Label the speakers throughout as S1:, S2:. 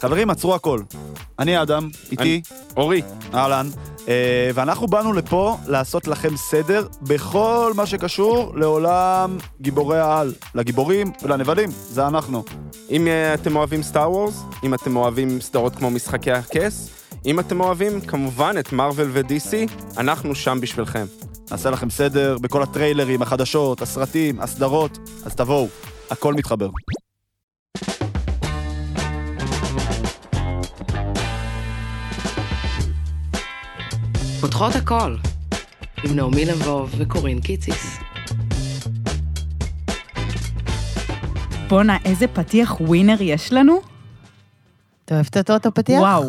S1: חברים, עצרו הכל. אני אדם, איתי,
S2: אורי,
S1: אהלן, אה, ואנחנו באנו לפה לעשות לכם סדר בכל מה שקשור לעולם גיבורי העל, לגיבורים ולנבלים, זה אנחנו.
S2: אם אה, אתם אוהבים סטאר וורס, אם אתם אוהבים סדרות כמו משחקי הכס, אם אתם אוהבים כמובן את מארוול ו-DC, אנחנו שם בשבילכם.
S1: נעשה לכם סדר בכל הטריילרים, החדשות, הסרטים, הסדרות, אז תבואו, הכל מתחבר.
S3: פותחות הכל, עם נעמי לבוב וקורין קיציס.
S4: בואנה, איזה פתיח ווינר יש לנו.
S5: אתה אוהבת אותו, אותו פתיח?
S4: וואו,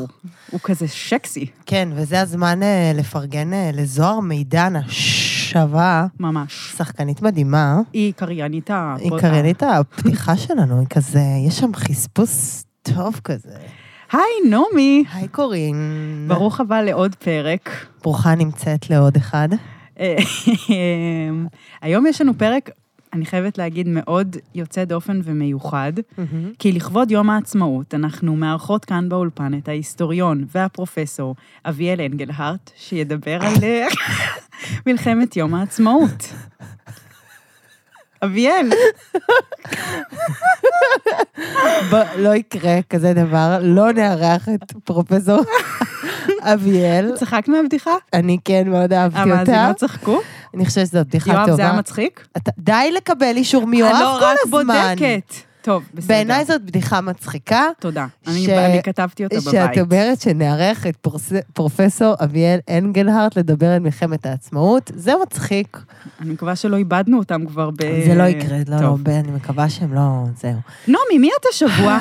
S4: הוא כזה שקסי,
S5: כן, וזה הזמן אה, לפרגן אה, לזוהר מידן השווה,
S4: ממש.
S5: שחקנית מדהימה.
S4: היא קריינית ה...
S5: היא קריינית הפתיחה שלנו, היא כזה, יש שם חספוס טוב כזה.
S4: היי, נעמי.
S5: היי קורין.
S4: ברוך הבא לעוד פרק.
S5: ברוכה נמצאת לעוד אחד.
S4: אה, אמ, היום יש לנו פרק, אני חייבת להגיד, מאוד יוצא דופן ומיוחד, כי לכבוד יום העצמאות, אנחנו מארחות כאן באולפן את ההיסטוריון והפרופסור אביאל אנגלהרט, שידבר על אה, מלחמת יום העצמאות. אביאל,
S5: ב- לא יקרה כזה דבר, לא נארח את פרופסור אביאל.
S4: צחקת מהבדיחה?
S5: אני כן מאוד אהבתי אותה.
S4: המאזינות לא צחקו?
S5: אני חושבת שזו בדיחה טובה.
S4: יואב, זה היה מצחיק?
S5: אתה- די לקבל אישור מיואב
S4: לא,
S5: כל
S4: רק
S5: הזמן.
S4: בודקת. טוב, בסדר.
S5: בעיניי זאת בדיחה מצחיקה.
S4: תודה.
S5: ש-
S4: אני אני כתבתי אותה
S5: שאת
S4: בבית.
S5: אומרת שנארח את פרוס- פרופסור אביאל אנגלהרט לדבר על מלחמת העצמאות, זה מצחיק.
S4: אני מקווה שלא איבדנו אותם כבר ב...
S5: זה לא יקרה, לא, לא,
S4: אה, טוב.
S5: ב- אני מקווה שהם לא... זהו.
S4: נעמי, מי את השבוע?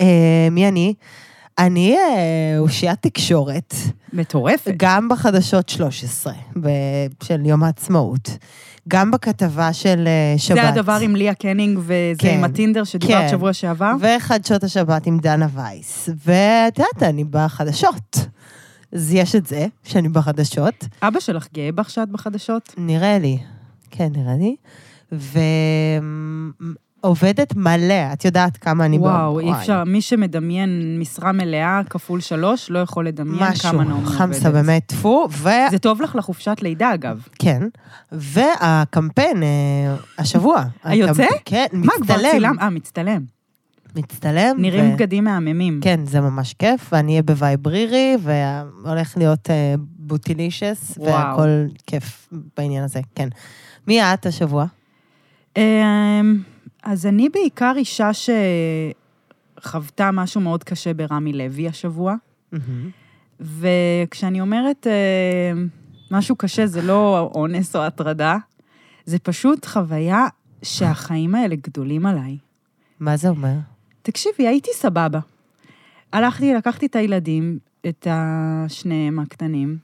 S5: אה, מי אני? אני אה, אושיית תקשורת,
S4: מטורפת.
S5: גם בחדשות 13 ב- של יום העצמאות, גם בכתבה של אה, שבת.
S4: זה הדבר עם ליה קנינג וזה
S5: כן,
S4: עם הטינדר שדיברת
S5: כן.
S4: שבוע שעבר?
S5: וחדשות השבת עם דנה וייס. ואת יודעת, אני בחדשות. אז יש את זה, שאני בחדשות.
S4: אבא שלך גאה בך שאת בחדשות?
S5: נראה לי. כן, נראה לי. ועובדת מלא, את יודעת כמה אני...
S4: וואו,
S5: בא-
S4: אי אפשר, מי שמדמיין משרה מלאה כפול שלוש, לא יכול לדמיין כמה
S5: משהו,
S4: נעמי עובדת.
S5: חמסה באמת, טפו, ו...
S4: זה טוב לך לחופשת לידה, אגב.
S5: כן. והקמפיין, אה, השבוע.
S4: היוצא?
S5: הקמפ- כן, מצטלם.
S4: מה, כבר צילם? אה, מצטלם.
S5: מצטלם.
S4: נראים
S5: ו-
S4: בגדים מהממים.
S5: כן, זה ממש כיף, ואני אהיה בווייברירי, והולך להיות אה, בוטילישס,
S4: וואו.
S5: והכל כיף בעניין הזה, כן. מי את השבוע?
S4: אמ, אז אני בעיקר אישה שחוותה משהו מאוד קשה ברמי לוי השבוע, וכשאני אומרת אמ, משהו קשה, זה לא אונס או הטרדה, זה פשוט חוויה שהחיים האלה גדולים עליי.
S5: מה זה אומר?
S4: תקשיבי, הייתי סבבה. הלכתי, לקחתי את הילדים, את השניהם הקטנים,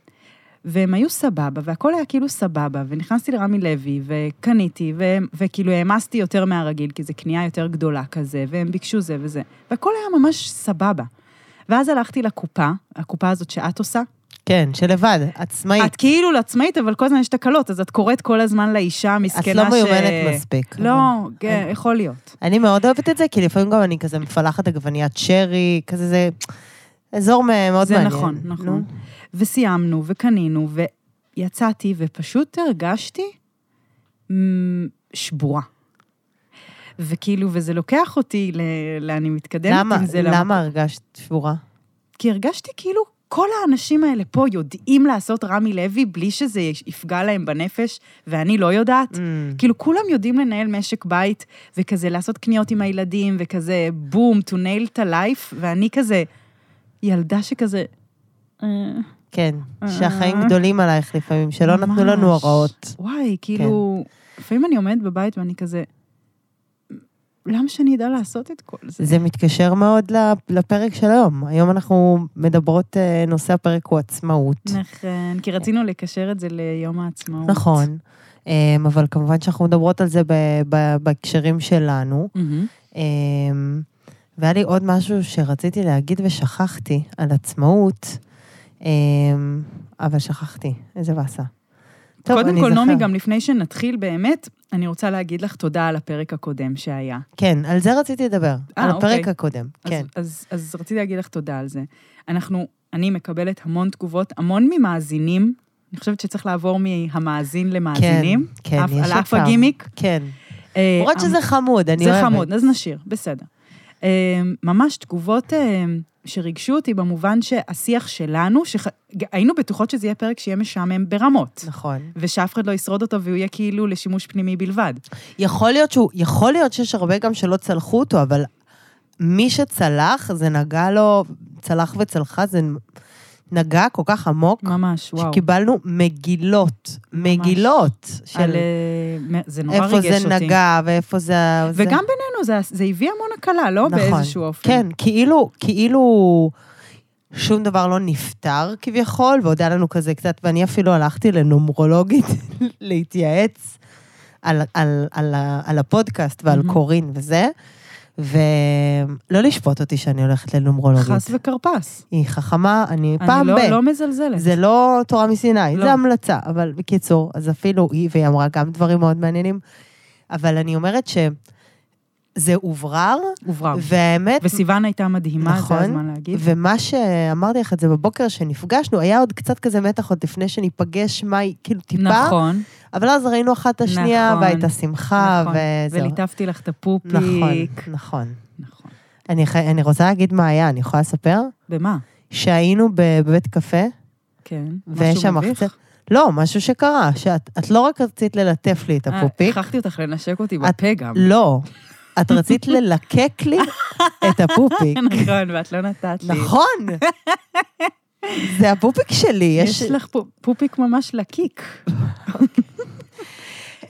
S4: והם היו סבבה, והכל היה כאילו סבבה, ונכנסתי לרמי לוי, וקניתי, ו- וכאילו העמסתי יותר מהרגיל, כי זו קנייה יותר גדולה כזה, והם ביקשו זה וזה, והכל היה ממש סבבה. ואז הלכתי לקופה, הקופה הזאת שאת עושה.
S5: כן, שלבד, עצמאית.
S4: את כאילו לעצמאית, אבל כל הזמן יש תקלות, אז את קוראת כל הזמן לאישה המסכנה
S5: את
S4: ש...
S5: לא מיומנת מספיק.
S4: לא, כן, יכול להיות.
S5: אני מאוד אוהבת את זה, כי לפעמים גם אני כזה מפלחת עגבניית שרי, כזה זה... אזור מ- מאוד
S4: זה
S5: מעניין.
S4: נכון,
S5: נו.
S4: נכון. וסיימנו, וקנינו, ויצאתי, ופשוט הרגשתי מ, שבורה. וכאילו, וזה לוקח אותי ל... לאן אני מתקדמת
S5: למה,
S4: עם זה.
S5: למה הרגשת שבורה?
S4: כי הרגשתי כאילו כל האנשים האלה פה יודעים לעשות רמי לוי בלי שזה יפגע להם בנפש, ואני לא יודעת.
S5: Mm.
S4: כאילו, כולם יודעים לנהל משק בית, וכזה לעשות קניות עם הילדים, וכזה בום, to nail את ה-life, ואני כזה ילדה שכזה... אה,
S5: כן, שהחיים
S4: אה.
S5: גדולים עלייך לפעמים, שלא נתנו
S4: ממש.
S5: לנו הוראות. כן.
S4: וואי, כאילו, לפעמים אני עומדת בבית ואני כזה, למה שאני אדע לעשות את כל זה?
S5: זה מתקשר מאוד ל- לפרק של היום. היום אנחנו מדברות, אה, נושא הפרק הוא עצמאות.
S4: נכון, כי רצינו לקשר את זה ליום העצמאות.
S5: נכון. אמ, אבל כמובן שאנחנו מדברות על זה ב- ב- בהקשרים שלנו.
S4: מהמם.
S5: אמ, והיה לי עוד משהו שרציתי להגיד ושכחתי על עצמאות, אמ, אבל שכחתי, איזה באסה. טוב,
S4: קודם
S5: אני
S4: כל,
S5: אזכר.
S4: נעמי, גם לפני שנתחיל באמת, אני רוצה להגיד לך תודה על הפרק הקודם שהיה.
S5: כן, על זה רציתי לדבר.
S4: אה,
S5: על הפרק
S4: אוקיי.
S5: הקודם,
S4: אז,
S5: כן.
S4: אז, אז, אז רציתי להגיד לך תודה על זה. אנחנו, אני מקבלת המון תגובות, המון ממאזינים. אני חושבת שצריך לעבור מהמאזין למאזינים.
S5: כן,
S4: אף-
S5: יש
S4: על אף
S5: אפשר.
S4: הגימיק.
S5: כן.
S4: אה,
S5: למרות שזה חמוד, אני
S4: זה
S5: אוהבת.
S4: חמוד, אז נשאיר, בסדר. אה, ממש תגובות אה, שריגשו אותי במובן שהשיח שלנו, שהיינו בטוחות שזה יהיה פרק שיהיה משעמם ברמות.
S5: נכון.
S4: ושאף אחד לא ישרוד אותו והוא יהיה כאילו לשימוש פנימי בלבד.
S5: יכול להיות שהוא, יכול להיות שיש הרבה גם שלא צלחו אותו, אבל מי שצלח, זה נגע לו, צלח וצלחה, זה נגע כל כך עמוק,
S4: ממש, וואו.
S5: שקיבלנו מגילות, מגילות
S4: על,
S5: של
S4: אה, מ- זה נורא ריגש
S5: איפה
S4: אותי.
S5: זה נגע ואיפה זה... זה-
S4: וגם בינינו, זה, זה הביא המון הקלה, לא
S5: נכון.
S4: באיזשהו אופן.
S5: כן, כאילו, כאילו שום דבר לא נפתר כביכול, ועוד היה לנו כזה קצת, ואני אפילו הלכתי לנומרולוגית להתייעץ על, על, על, ה- על הפודקאסט ועל
S4: Mhm.
S5: קורין וזה, ולא לשפוט אותי שאני הולכת לנומרולוגית.
S4: חס וכרפס.
S5: היא חכמה, אני,
S4: אני
S5: פעם
S4: לא,
S5: ב...
S4: לא מזלזלת.
S5: זה לא תורה מסיני,
S4: לא.
S5: זה המלצה, אבל בקיצור, אז אפילו היא, והיא אמרה גם דברים מאוד מעניינים, אבל אני אומרת שזה הוברר,
S4: הוברר.
S5: והאמת,
S4: וסיוון הייתה מדהימה, זה
S5: נכון.
S4: הזמן להגיד.
S5: ומה שאמרתי לך את זה בבוקר, שנפגשנו, היה עוד קצת כזה מתח עוד לפני שניפגש, מה, היא- כאילו טיפה,
S4: נכון,
S5: אבל אז ראינו אחת את השנייה,
S4: נכון,
S5: והייתה שמחה,
S4: נכון.
S5: וזהו.
S4: וליטפתי לך את הפופיק.
S5: נכון, נכון.
S4: נכון.
S5: אני, חי- אני רוצה להגיד מה היה, אני יכולה לספר?
S4: במה?
S5: שהיינו ב- בבית קפה,
S4: כן.
S5: ויש
S4: משהו
S5: שם
S4: מביך?
S5: מחצב- לא, משהו שקרה, שאת את לא רק רצית ללטף לי את
S4: אה,
S5: הפופיק,
S4: הכרחתי אותך לנשק אותי
S5: את-
S4: בפה גם.
S5: לא, את רצית ללקק לי את הפופיק.
S4: נכון, ואת לא נתת לי.
S5: נכון. זה הפופיק שלי, יש...
S4: יש לך פו- פופיק ממש לקיק.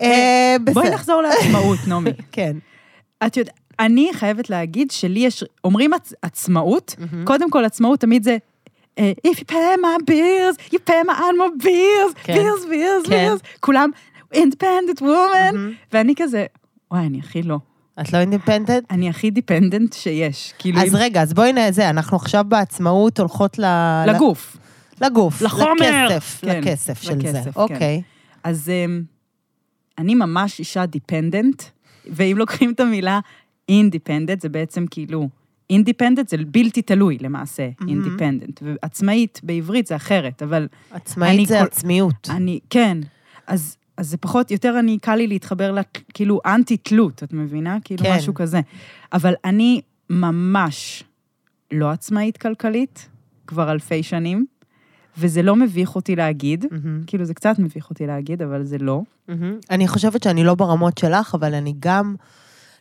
S5: אה, בסדר.
S4: בואי נחזור לעצמאות, נעמי.
S5: כן.
S4: את יודעת, אני חייבת להגיד שלי יש, אומרים עצ- עצמאות, קודם כל עצמאות תמיד זה, אה, If you pay my bills, you pay my animal bills,
S5: כן.
S4: bills, bills,
S5: כן.
S4: bills, כולם independent woman, ואני כזה, וואי, אני הכי לא,
S5: את לא אינדיפנדנט?
S4: אני הכי דיפנדנט שיש, כאילו,
S5: אז
S4: אם-
S5: רגע, אז בואי נ... זה, אנחנו עכשיו בעצמאות הולכות ל...
S4: לגוף.
S5: לגוף.
S4: לחומר.
S5: לכסף,
S4: כן,
S5: לכסף של זה.
S4: לכסף, כן.
S5: אוקיי.
S4: אז אמ, אני ממש אישה דיפנדנט, ואם לוקחים את המילה אינדיפנדנט, זה בעצם כאילו, אינדיפנדנט זה בלתי תלוי למעשה, אינדיפנדנט. ועצמאית בעברית זה אחרת, אבל אני
S5: עצמאית זה
S4: כל-
S5: עצמיות.
S4: אני, כן, אז, אז זה פחות, יותר אני, קל לי להתחבר לכאילו אנטי-תלות, את מבינה? כאילו
S5: כן.
S4: משהו כזה. אבל אני ממש לא עצמאית כלכלית, כבר אלפי שנים, וזה לא מביך אותי להגיד,
S5: מהמם,
S4: כאילו זה קצת מביך אותי להגיד, אבל זה לא.
S5: מהמם. אני חושבת שאני לא ברמות שלך, אבל אני גם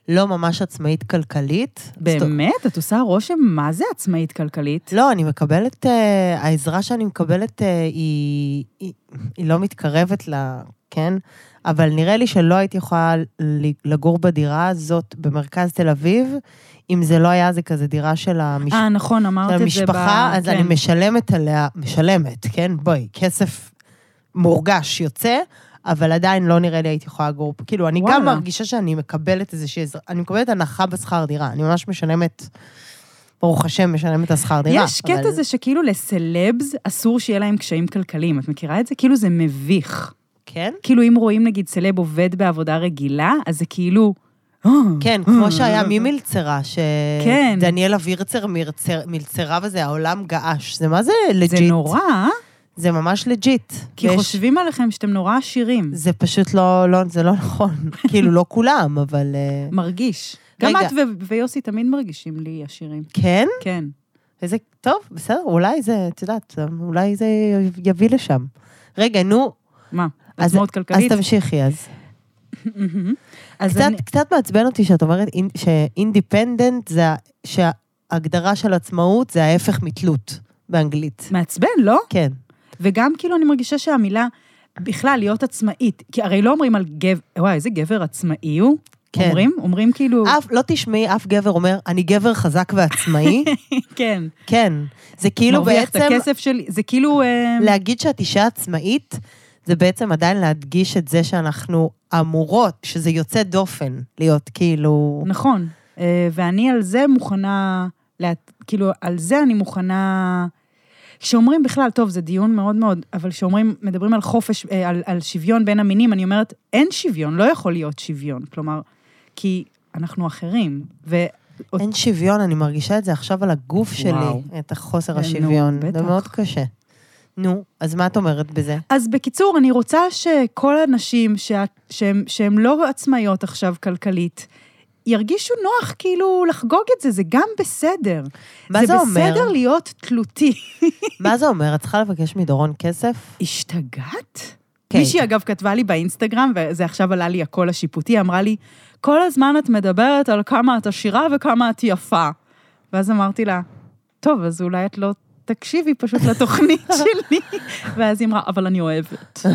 S5: לא ממש עצמאית כלכלית. זאת-
S4: באמת? את עושה רושם מה זה עצמאית כלכלית?
S5: לא, אני מקבלת, אה, העזרה שאני מקבלת אה, היא, היא, היא לא מתקרבת ל... כן? אבל נראה לי שלא הייתי יכולה ל- לגור בדירה הזאת במרכז תל אביב, אם זה לא היה, זה כזה דירה של המש...
S4: אה, נכון, אמרת את
S5: של
S4: זה ב...
S5: המשפחה, אז
S4: כן.
S5: אני משלמת עליה, משלמת, כן? בואי, כסף מורגש יוצא, אבל עדיין לא נראה לי הייתי יכולה לגור פה. כאילו, אני גם
S4: וואלה.
S5: מרגישה שאני מקבלת איזושהי עזרה, אני מקבלת הנחה בשכר דירה, אני ממש משלמת, ברוך השם, משלמת את השכר דירה.
S4: יש קטע
S5: אבל-
S4: זה שכאילו לסלבס אסור שיהיה להם קשיים כלכליים, את מכירה את זה? כאילו זה מביך.
S5: כן?
S4: כאילו אם רואים נגיד סלב עובד בעבודה רגילה, אז זה כאילו... "אה,
S5: כן, כמו שהיה ממלצרה,
S4: כן.
S5: שדניאלה וירצר מרצר- מלצרה וזה, העולם געש. זה מה זה
S4: זה
S5: לג'יט?
S4: נורא, אה?
S5: זה ממש לג'יט.
S4: כי
S5: ויש-
S4: חושבים עליכם שאתם נורא עשירים.
S5: זה פשוט לא, לא, זה לא נכון. כאילו, לא כולם, אבל... אה,
S4: מרגיש. גם
S5: רגע.
S4: את ו- ויוסי תמיד מרגישים לי עשירים.
S5: כן?
S4: כן.
S5: איזה... טוב, בסדר, אולי זה, את יודעת, אולי זה יביא לשם. רגע, נו,
S4: מה?
S5: אז-
S4: עצמאות
S5: אז
S4: כלכלית?
S5: תמשיכי אז.
S4: אז
S5: קצת,
S4: אני-
S5: קצת מעצבן אותי שאת אומרת אינ- שאינדיפנדנט זה... ה- שההגדרה של עצמאות זה ההפך מתלות באנגלית.
S4: מעצבן, לא?
S5: כן.
S4: וגם כאילו אני מרגישה שהמילה, בכלל, להיות עצמאית, כי הרי לא אומרים על גבר, וואי, איזה גבר עצמאי הוא.
S5: כן.
S4: אומרים, אומרים כאילו,
S5: אף, לא תשמעי אף גבר אומר, אני גבר חזק ועצמאי.
S4: כן,
S5: כן. זה כאילו
S4: מרוויח
S5: בעצם,
S4: את הכסף שלי, זה כאילו, אה,
S5: להגיד שאת אישה עצמאית, זה בעצם עדיין להדגיש את זה שאנחנו אמורות, שזה יוצא דופן, להיות כאילו...
S4: נכון. אה, ואני על זה מוכנה, לה- כאילו, על זה אני מוכנה, שאומרים בכלל, טוב, זה דיון מאוד מאוד, אבל שאומרים, מדברים על חופש, אה, על, על שוויון בין המינים, אני אומרת, אין שוויון, לא יכול להיות שוויון. כלומר, כי אנחנו אחרים. ו...
S5: אין שוויון, אני מרגישה את זה עכשיו על הגוף
S4: וואו.
S5: שלי, את החוסר
S4: כן, נו,
S5: השוויון. זה
S4: בטח.
S5: מאוד קשה. נו, אז מה את אומרת בזה?
S4: אז בקיצור, אני רוצה שכל הנשים שה- שהן- שהן לא עצמאיות עכשיו כלכלית, ירגישו נוח כאילו לחגוג את זה, זה גם בסדר.
S5: מה זה אומר?
S4: זה בסדר להיות תלותי.
S5: מה זה אומר? את צריכה לבקש מדורון כסף?
S4: השתגעת?
S5: כן.
S4: כן. מישהי אגב כתבה לי באינסטגרם, וזה עכשיו עלה לי הקול השיפוטי, היא אמרה לי, כל הזמן את מדברת על כמה את עשירה וכמה את יפה. ואז אמרתי לה, טוב, אז אולי את לא תקשיבי פשוט לתוכנית שלי. ואז היא אמרה, אבל אני אוהבת.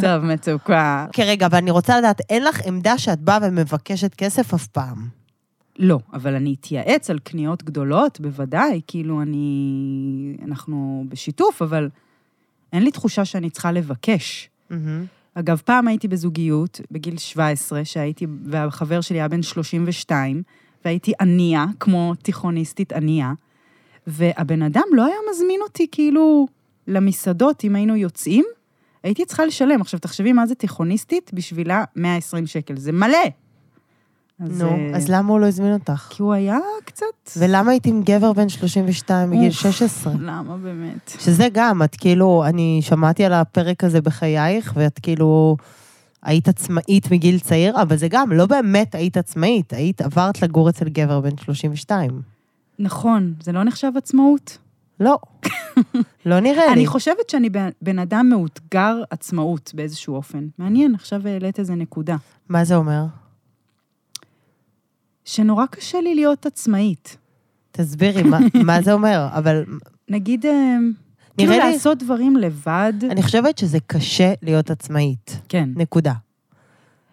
S4: טוב, מצוקה.
S5: כן, רגע, אבל אני רוצה לדעת, אין לך עמדה שאת באה ומבקשת כסף אף פעם.
S4: לא, אבל אני אתייעץ על קניות גדולות, בוודאי, כאילו אני... אנחנו בשיתוף, אבל אין לי תחושה שאני צריכה לבקש.
S5: מהמם.
S4: אגב, פעם הייתי בזוגיות, בגיל 17, שהייתי, והחבר שלי היה בן 32, והייתי ענייה, כמו תיכוניסטית ענייה, והבן אדם לא היה מזמין אותי, כאילו, למסעדות, אם היינו יוצאים, הייתי צריכה לשלם. עכשיו, תחשבי מה זה תיכוניסטית, בשבילה 120 שקל, זה מלא.
S5: נו,
S4: אה,
S5: אז למה הוא לא הזמין אותך?
S4: כי הוא היה קצת...
S5: ולמה היית עם גבר בן 32 מגיל
S4: אוף.
S5: 16?
S4: למה באמת?
S5: שזה גם, את כאילו, אני שמעתי על הפרק הזה בחייך, ואת כאילו היית עצמאית מגיל צעיר, אבל זה גם, לא באמת היית עצמאית, היית, עברת לגור אצל גבר בן 32.
S4: נכון, זה לא נחשב עצמאות?
S5: לא. לא נראה לי.
S4: אני חושבת שאני בן- בן אדם מאותגר עצמאות באיזשהו אופן. מעניין, עכשיו העלית איזה נקודה.
S5: מה זה אומר?
S4: שנורא קשה לי להיות עצמאית.
S5: תסבירי, מה- מה זה אומר? אבל
S4: נגיד, אה, כאילו
S5: נראה לי-
S4: לעשות דברים לבד.
S5: אני חושבת שזה קשה להיות עצמאית.
S4: כן,
S5: נקודה.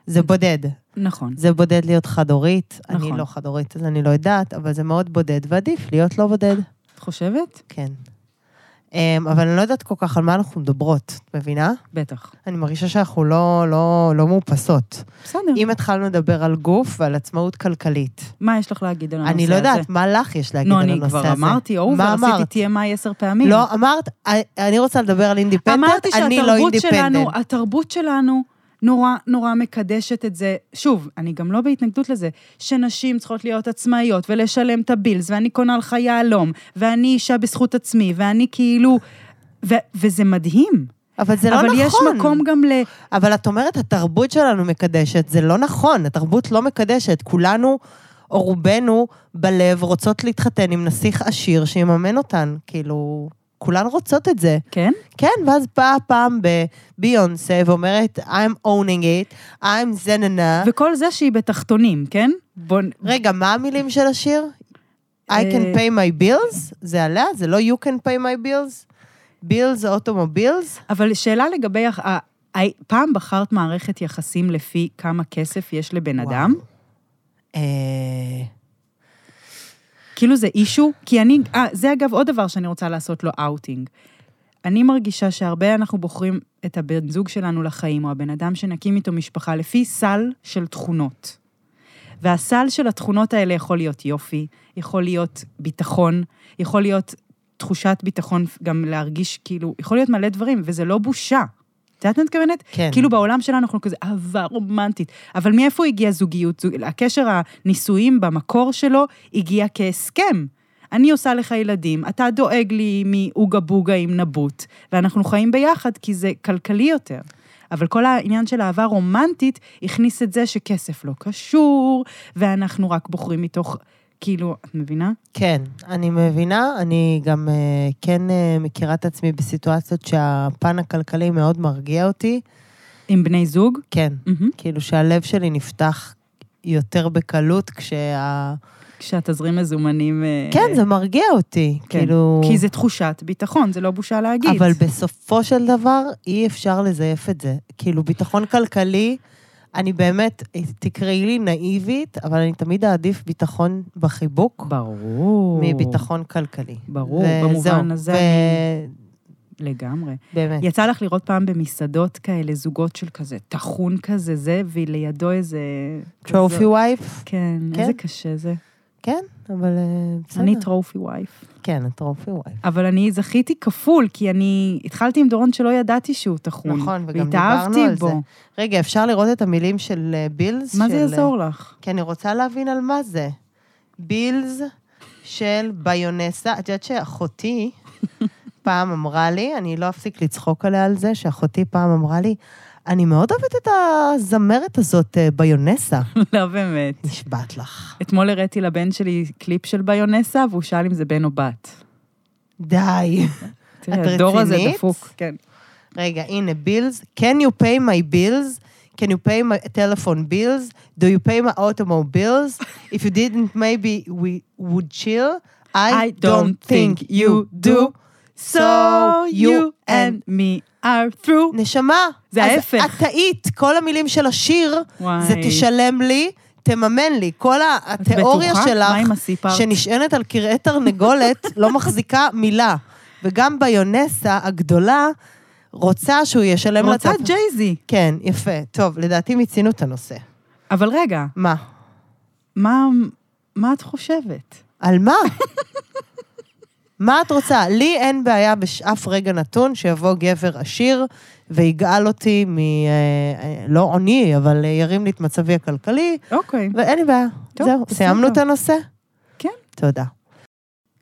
S5: זה בודד.
S4: נכון.
S5: זה בודד להיות חד-הורית. אני
S4: נכון.
S5: לא חד-הורית, אז אני לא יודעת, אבל זה מאוד בודד, ועדיף להיות לא בודד.
S4: את חושבת?
S5: כן. אמ, אבל אני לא יודעת כל כך על מה אנחנו מדברות, את מבינה?
S4: בטח.
S5: אני מרגישה שאנחנו לא, לא, לא מאופסות.
S4: בסדר.
S5: אם התחלנו לדבר על גוף ועל עצמאות כלכלית,
S4: מה יש לך להגיד על הנושא הזה?
S5: אני לא יודעת מה לך יש להגיד
S4: נו,
S5: על
S4: אני
S5: הנושא הזה.
S4: כבר אמרתי, אהוב,
S5: מה אמרת?
S4: עשיתי TMI עשר פעמים.
S5: לא, אמרת, "אה, אני רוצה לדבר על אינדיפנדנט,
S4: אמרתי
S5: אני לא
S4: שהתרבות
S5: אינדיפנדנט.
S4: שלנו, התרבות שלנו נורא נורא מקדשת את זה. שוב, אני גם לא בהתנגדות לזה, שנשים צריכות להיות עצמאיות ולשלם את הבילס, ואני קונה לך יהלום, ואני אישה בזכות עצמי, ואני כאילו... ו- וזה מדהים.
S5: אבל זה לא
S4: אבל
S5: נכון.
S4: אבל יש מקום גם ל...
S5: אבל את אומרת, התרבות שלנו מקדשת, זה לא נכון, התרבות לא מקדשת. כולנו, או רובנו, בלב רוצות להתחתן עם נסיך עשיר שיממן אותן. כאילו, כולן רוצות את זה.
S4: כן?
S5: כן, ואז באה פעם בביונסה ואומרת, I'm owning it, I'm זננה. ו...
S4: וכל זה שהיא בתחתונים, כן? בוא... נ-
S5: רגע, מה המילים של השיר? I
S4: אה,
S5: can pay my bills? זה עליה? זה לא you can pay my bills? bills, automobiles?
S4: אבל שאלה לגבי... הח- ה- ה- פעם בחרת מערכת יחסים לפי כמה כסף יש לבן
S5: וואו.
S4: אדם?
S5: אה,
S4: כאילו זה אישו, כי אני, אה, זה אגב עוד דבר שאני רוצה לעשות לו אאוטינג. אני מרגישה שהרבה אנחנו בוחרים את הבן זוג שלנו לחיים, או הבן אדם שנקים איתו משפחה, לפי סל של תכונות. והסל של התכונות האלה יכול להיות יופי, יכול להיות ביטחון, יכול להיות תחושת ביטחון, גם להרגיש כאילו, יכול להיות מלא דברים, וזה לא בושה. את יודעת מה את מתכוונת?
S5: כן.
S4: כאילו בעולם שלנו אנחנו כזה אהבה רומנטית, אבל מאיפה הגיעה זוגיות? זוג- הקשר הנישואים במקור שלו הגיע כהסכם. אני עושה לך ילדים, אתה דואג לי מאוגה בוגה עם נבוט, ואנחנו חיים ביחד כי זה כלכלי יותר. אבל כל העניין של אהבה רומנטית הכניס את זה שכסף לא קשור, ואנחנו רק בוחרים מתוך, כאילו, את מבינה?
S5: כן, אני מבינה, אני גם אה, כן אה, מכירה את עצמי בסיטואציות שהפן הכלכלי מאוד מרגיע אותי.
S4: עם בני זוג?
S5: כן,
S4: מהמם.
S5: כאילו שהלב שלי נפתח יותר בקלות כשה...
S4: אה. כשהתזרים מזומנים... אה,
S5: כן, זה מרגיע אותי,
S4: כן.
S5: כאילו...
S4: כי זה תחושת ביטחון, זה לא בושה להגיד.
S5: אבל בסופו של דבר, אי אפשר לזייף את זה. כאילו, ביטחון כלכלי, אני באמת, תקראי לי נאיבית, אבל אני תמיד אעדיף ביטחון בחיבוק
S4: ברור.
S5: מביטחון כלכלי.
S4: ברור,
S5: וזהו,
S4: במובן הזה
S5: ו-
S4: אני- לגמרי.
S5: באמת.
S4: יצא לך לראות פעם במסעדות כאלה זוגות של כזה טחון כזה זה, ולידו איזה...
S5: טרופי
S4: כזו-
S5: וייף?
S4: כן,
S5: כן?
S4: איזה קשה זה.
S5: כן, אבל אה, בסדר.
S4: אני טרופי וייף.
S5: כן, את רופי וואי.
S4: אבל אני זכיתי כפול, כי אני התחלתי עם דורון שלא ידעתי שהוא טחון.
S5: נכון, וגם
S4: והתאהבתי
S5: דיברנו על
S4: בו.
S5: זה. רגע, אפשר לראות את המילים של אה, בילס?
S4: מה זה
S5: של, אה,
S4: יעזור לך?
S5: כי אני רוצה להבין על מה זה. בילס של ביונסה. את יודעת שאחותי פעם אמרה לי, אני לא אפסיק לצחוק עליה על זה, שאחותי פעם אמרה לי, אני מאוד אוהבת את הזמרת הזאת, אה, ביונסה.
S4: לא באמת.
S5: נשבעת לך.
S4: אתמול הראיתי לבן שלי קליפ של ביונסה, והוא שאל אם זה בן או בת.
S5: די.
S4: תראי,
S5: את
S4: הדור הזה
S5: רצינית?
S4: דפוק. כן.
S5: רגע, הנה, בילס. Can you pay my bills? Can you pay my telephone bills? Do you pay my automobiles? If you didn't, maybe we would chill. I, don't think you do. So you and...
S4: me are through.
S5: נשמה.
S4: זה
S5: אז
S4: ההפך.
S5: את טעית, כל המילים של השיר,
S4: וואי.
S5: זה תשלם לי, תממן לי. כל ה- התיאוריה
S4: בטוחה?
S5: שלך,
S4: מה עם הסיפארט?
S5: שנשענת על קרעי תרנגולת, לא מחזיקה מילה. וגם ביונסה הגדולה רוצה שהוא ישלם
S4: רוצה
S5: לצפ-
S4: ג'ייזי.
S5: כן, יפה. טוב, לדעתי מיצינו את הנושא.
S4: אבל רגע,
S5: מה?
S4: מה מה את חושבת?
S5: על מה? מה את רוצה? לי אין בעיה באף רגע נתון שיבוא גבר עשיר ויגאל אותי מ... אה, אה, לא עוני, אבל אה, ירים לי את מצבי הכלכלי,
S4: אוקיי.
S5: ואין לי בעיה.
S4: טוב,
S5: זהו,
S4: בסדר.
S5: סיימנו את הנושא?
S4: כן.
S5: תודה.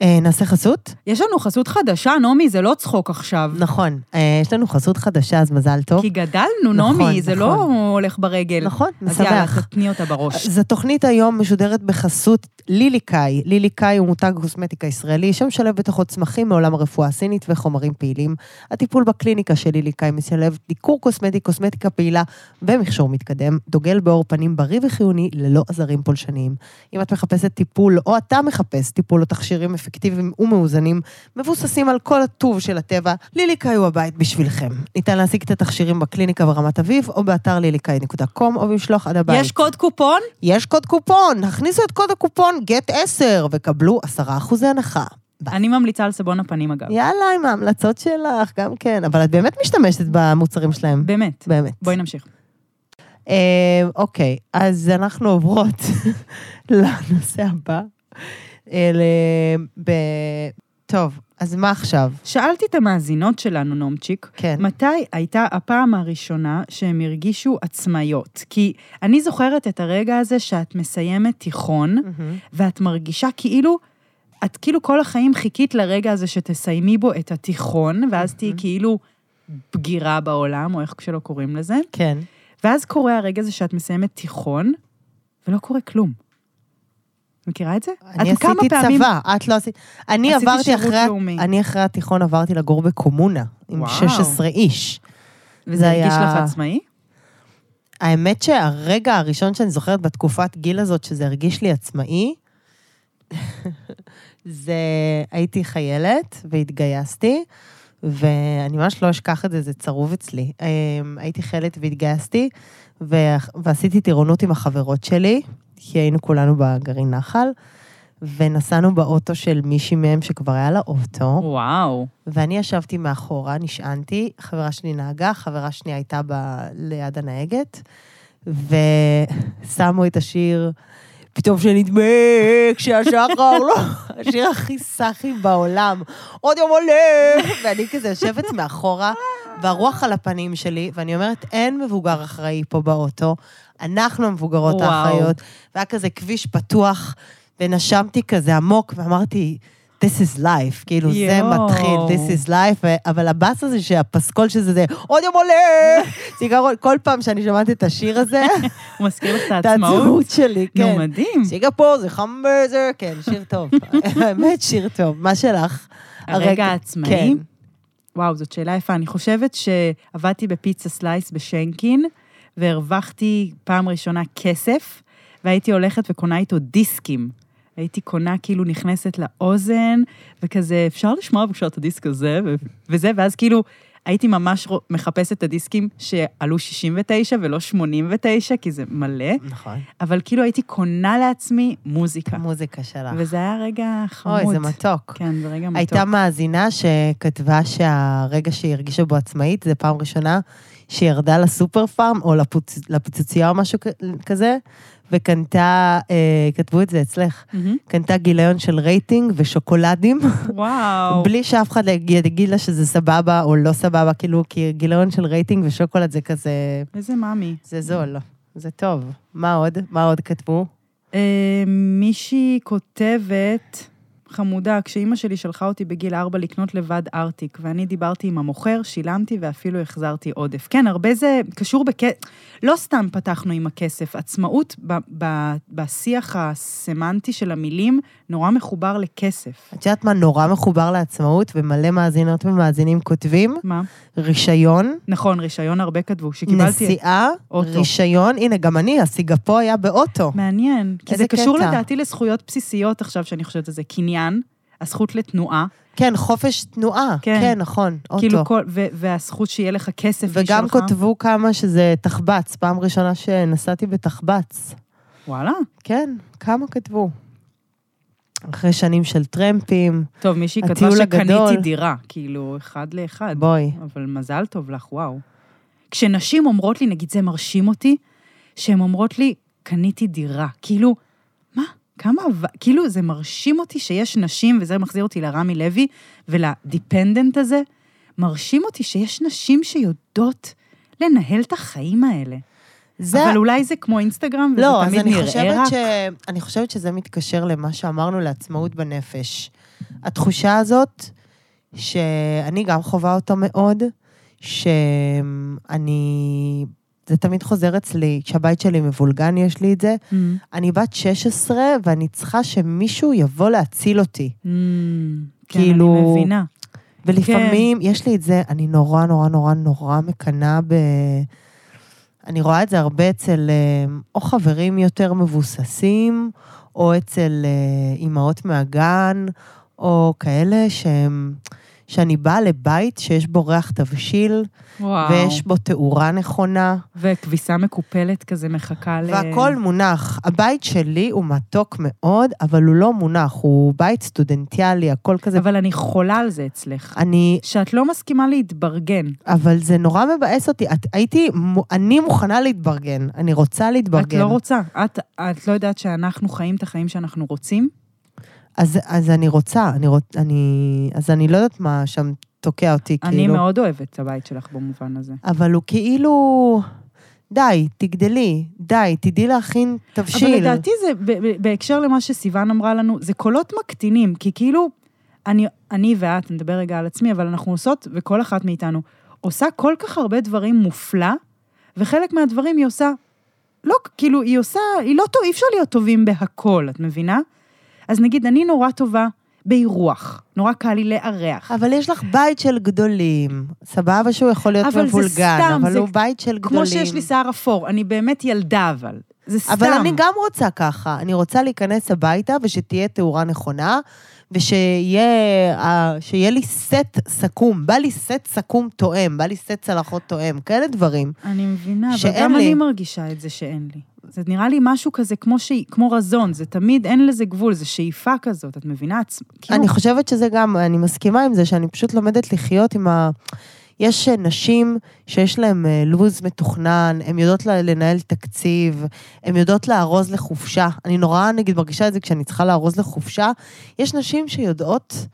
S5: אה, נעשה חסות?
S4: יש לנו חסות חדשה, נעמי, זה לא צחוק עכשיו.
S5: נכון. אה, יש לנו חסות חדשה, אז מזל טוב.
S4: כי גדלנו,
S5: נכון,
S4: נעמי, זה לא
S5: נכון.
S4: הולך ברגל.
S5: נכון,
S4: אז יאללה,
S5: משמח.
S4: תתני אותה בראש.
S5: אז התוכנית היום משודרת בחסות ליליקאי. ליליקאי הוא מותג קוסמטיקה ישראלי שמשלב בתוכו צמחים מעולם הרפואה הסינית וחומרים פעילים. הטיפול בקליניקה של ליליקאי משלב דיקור קוסמטי, קוסמטיקה פעילה ומכשור מתקדם, דוגל בעור פנים בריא וחיוני ללא עזרים פולשניים. אם את מחפשת טיפול, או אתה מחפש טיפול או תכשירים אפקטיביים ומאוזנים, מבוססים על כל הטוב של הטבע, ליליקאי הוא הבית בשבילכם. ניתן להשיג את התכשירים בקליניקה ברמת אביב, או באתר ליליקאי.com, או במשלוח עד הבית.
S4: יש קוד קופון?
S5: יש קוד קופון, הכניסו את קוד הקופון גט 10 וקבלו 10% הנחה. ביי.
S4: אני ממליצה על סבון הפנים, אגב.
S5: יאללה, עם ההמלצות שלך, גם כן. אבל את באמת משתמשת במוצרים שלהם.
S4: באמת.
S5: באמת.
S4: בואי נמשיך.
S5: אה, אוקיי, אז אנחנו עוברות לנושא הבא. אה, ל- ב- טוב, אז מה עכשיו?
S4: שאלתי את המאזינות שלנו, נעמצ'יק,
S5: כן.
S4: מתי הייתה הפעם הראשונה שהם הרגישו עצמאיות? כי אני זוכרת את הרגע הזה שאת מסיימת
S5: Mm-hmm.
S4: תיכון, ואת מרגישה כאילו, את כאילו כל החיים חיכית לרגע הזה שתסיימי בו את התיכון, ואז תהיי כאילו בגירה בעולם, או איך שלא קוראים לזה,
S5: כן.
S4: ואז קורה הרגע הזה שאת מסיימת תיכון, ולא קורה כלום. מכירה את זה?
S5: אני
S4: את כמה
S5: עשיתי
S4: פעמים-
S5: צבא, את לא עשית... אני
S4: עשיתי
S5: עברתי
S4: שירות
S5: אחרי... ה-
S4: לאומי.
S5: אני אחרי התיכון עברתי לגור בקומונה, עם
S4: וואו.
S5: 16 איש.
S4: וזה
S5: זה
S4: הרגיש
S5: היה-
S4: לך עצמאי?
S5: האמת שהרגע הראשון שאני זוכרת בתקופת גיל הזאת, שזה הרגיש לי עצמאי, זה הייתי חיילת והתגייסתי, ואני ממש לא אשכח את זה, זה צרוב אצלי. אמ, הייתי חיילת והתגייסתי, ואח- ועשיתי טירונות עם החברות שלי, כי היינו כולנו בגרעין נחל, ונסענו באוטו של מישהי מהם שכבר היה לה אוטו.
S4: וואו.
S5: ואני ישבתי מאחורה, נשענתי, חברה שלי נהגה, חברה שנייה הייתה ב... ליד הנהגת, ושמו את השיר, פתאום שנדמה כשהשחר לא, השיר הכי סאחי בעולם, עוד יום עולה, ואני כזה יושבת מאחורה, והרוח על הפנים שלי, ואני אומרת, אין מבוגר אחראי פה באוטו, אנחנו המבוגרות
S4: וואו.
S5: האחראיות, והיה כזה כביש פתוח, ונשמתי כזה עמוק, ואמרתי, This is life, כאילו, כאילו, זה
S4: יואו.
S5: מתחיל, this is life, ו- אבל הבאס הזה שהפסקול של זה, זה עוד יום עולה! זיכרון, כל פעם שאני שומעת את השיר הזה,
S4: הוא מזכיר לך את
S5: את
S4: העצמאות?
S5: העצמאות שלי, כן.
S4: נו, מדהים.
S5: שיגה פה, זה חמברזר, כן, שיר טוב. באמת שיר טוב. מה שלך?
S4: הרגע העצמאי?
S5: כן.
S4: וואו, זאת שאלה יפה. אני חושבת שעבדתי בפיצה סלייס בשנקין, והרווחתי פעם ראשונה כסף, והייתי הולכת וקונה איתו דיסקים. הייתי קונה, כאילו נכנסת לאוזן, וכזה, אפשר לשמוע בבקשה את הדיסק הזה, ו- וזה, ואז כאילו, הייתי ממש רוא- מחפשת את הדיסקים שעלו 69 ולא 89, כי זה מלא,
S5: נכון.
S4: אבל כאילו הייתי קונה לעצמי מוזיקה.
S5: מוזיקה שלך.
S4: וזה היה רגע חמוד.
S5: אוי, זה מתוק.
S4: כן, זה רגע מתוק.
S5: הייתה מאזינה שכתבה שהרגע שהיא הרגישה בו עצמאית, זה פעם ראשונה שירדה לסופר פארם, או לפוצ... לפיצוצייה או משהו כ- כזה, וקנתה, אה, כתבו את זה אצלך,
S4: מהמם.
S5: קנתה גיליון של רייטינג ושוקולדים,
S4: וואו.
S5: בלי שאף אחד יגיד יגיד לה שזה סבבה או לא סבבה, כאילו, כי גיליון של רייטינג ושוקולד זה כזה,
S4: איזה מאמי.
S5: זה זול, זה טוב. מה עוד? מה עוד כתבו?
S4: אה, מישהי כותבת, חמודה, כשאימא שלי שלחה אותי בגיל ארבע לקנות לבד ארטיק, ואני דיברתי עם המוכר, שילמתי ואפילו החזרתי עודף. כן, הרבה זה קשור בכ... לא סתם פתחנו עם הכסף, עצמאות ב- ב- בשיח הסמנטי של המילים נורא מחובר לכסף.
S5: את יודעת מה נורא מחובר לעצמאות, ומלא מאזינות ומאזינים כותבים?
S4: מה?
S5: רישיון,
S4: נכון, רישיון הרבה כתבו, שקיבלתי...
S5: נסיעה,
S4: אוטו.
S5: רישיון, הנה, גם אני, הסיגפו היה באוטו.
S4: מעניין, כי
S5: איזה
S4: זה קשור
S5: קטע.
S4: לדעתי לזכויות בסיסיות עכשיו, שאני חושבת על זה, קניין, הזכות לתנועה,
S5: כן, חופש תנועה.
S4: כן.
S5: כן, נכון,
S4: כאילו
S5: אוטו.
S4: כל, ו- והזכות שיהיה לך כסף
S5: וגם
S4: משלך.
S5: כתבו כמה שזה תחבץ, פעם ראשונה שנסעתי בתחבץ.
S4: וואלה.
S5: כן, כמה כתבו. אחרי שנים של טרמפים,
S4: טוב, מישהי כתבה
S5: הטיול הגדול.
S4: שקניתי דירה, כאילו, אחד לאחד.
S5: בואי.
S4: אבל מזל טוב לך, וואו. כשנשים אומרות לי, נגיד זה מרשים אותי, שהן אומרות לי, קניתי דירה. כאילו, מה? כמה... ו- כאילו, זה מרשים אותי שיש נשים, וזה מחזיר אותי לרמי לוי ולדיפנדנט הזה, מרשים אותי שיש נשים שיודעות לנהל את החיים האלה.
S5: זה
S4: אבל אולי זה כמו אינסטגרם, וזה
S5: לא, אז
S4: תמיד
S5: אני
S4: נראה
S5: חושבת,
S4: רק...
S5: ש... אני חושבת שזה מתקשר למה שאמרנו לעצמאות בנפש. התחושה הזאת, שאני גם חווה אותה מאוד, שאני... זה תמיד חוזר אצלי, כשהבית שלי מבולגן, יש לי את זה.
S4: Mm.
S5: אני בת 16 ואני צריכה שמישהו יבוא להציל אותי.
S4: Mm, כן,
S5: כאילו-
S4: אני מבינה.
S5: ולפעמים כן. יש לי את זה, אני נורא נורא נורא נורא מקנאה ב... אני רואה את זה הרבה אצל אה, או חברים יותר מבוססים, או אצל אה, אימהות מהגן, או כאלה שהם... שאני באה לבית שיש בו ריח תבשיל,
S4: וואו.
S5: ויש בו תאורה נכונה,
S4: וכביסה מקופלת כזה מחכה ל...
S5: והכול מונח. הבית שלי הוא מתוק מאוד, אבל הוא לא מונח, הוא בית סטודנטיאלי, הכל כזה.
S4: אבל אני חולה על זה אצלך.
S5: אני
S4: שאת לא מסכימה להתברגן.
S5: אבל זה נורא מבאס אותי. את, הייתי, מו- אני מוכנה להתברגן, אני רוצה להתברגן.
S4: את לא רוצה. את, את לא יודעת שאנחנו חיים את החיים שאנחנו רוצים?
S5: אז, אז אני רוצה, אני רוצ, אני, אז אני לא יודעת מה שם תוקע אותי,
S4: אני
S5: כאילו.
S4: מאוד אוהבת את הבית שלך במובן הזה.
S5: אבל הוא כאילו, די, תגדלי, די, תדעי להכין תבשיל.
S4: אבל לדעתי זה, ב- ב- בהקשר למה שסיוון אמרה לנו, זה קולות מקטינים, כי כאילו, אני, אני ואת, נדבר רגע על עצמי, אבל אנחנו עושות, וכל אחת מאיתנו, עושה כל כך הרבה דברים מופלא, וחלק מהדברים היא עושה, לא, כאילו, היא עושה, היא לא טוב, אי אפשר להיות טובים בהכל, את מבינה? אז נגיד, אני נורא טובה באירוח, נורא קל לי לארח.
S5: אבל יש לך בית של גדולים, סבבה שהוא יכול להיות
S4: אבל זה
S5: מבולגן,
S4: סתם,
S5: אבל
S4: זה
S5: הוא בית של גדולים.
S4: כמו שיש לי שיער אפור, אני באמת ילדה, אבל. זה סתם.
S5: אבל אני גם רוצה ככה. אני רוצה להיכנס הביתה ושתהיה תאורה נכונה, ושיהיה אה, שיהיה לי סט סכום. בא לי סט סכום תואם, בא לי סט צלחות תואם, כאלה דברים.
S4: אני מבינה, אבל
S5: שאין
S4: גם
S5: לי.
S4: אני מרגישה את זה שאין לי. זה נראה לי משהו כזה כמו, ש... כמו רזון, זה תמיד, אין לזה גבול, זה שאיפה כזאת, את מבינה? עצ... כאילו,
S5: אני חושבת שזה גם, אני מסכימה עם זה, שאני פשוט לומדת לחיות עם ה... יש אה, נשים שיש להן אה, לו"ז מתוכנן, הן יודעות ל- לנהל תקציב, הן יודעות לארוז לחופשה. אני נורא, נגיד, מרגישה את זה כשאני צריכה לארוז לחופשה. יש נשים שיודעות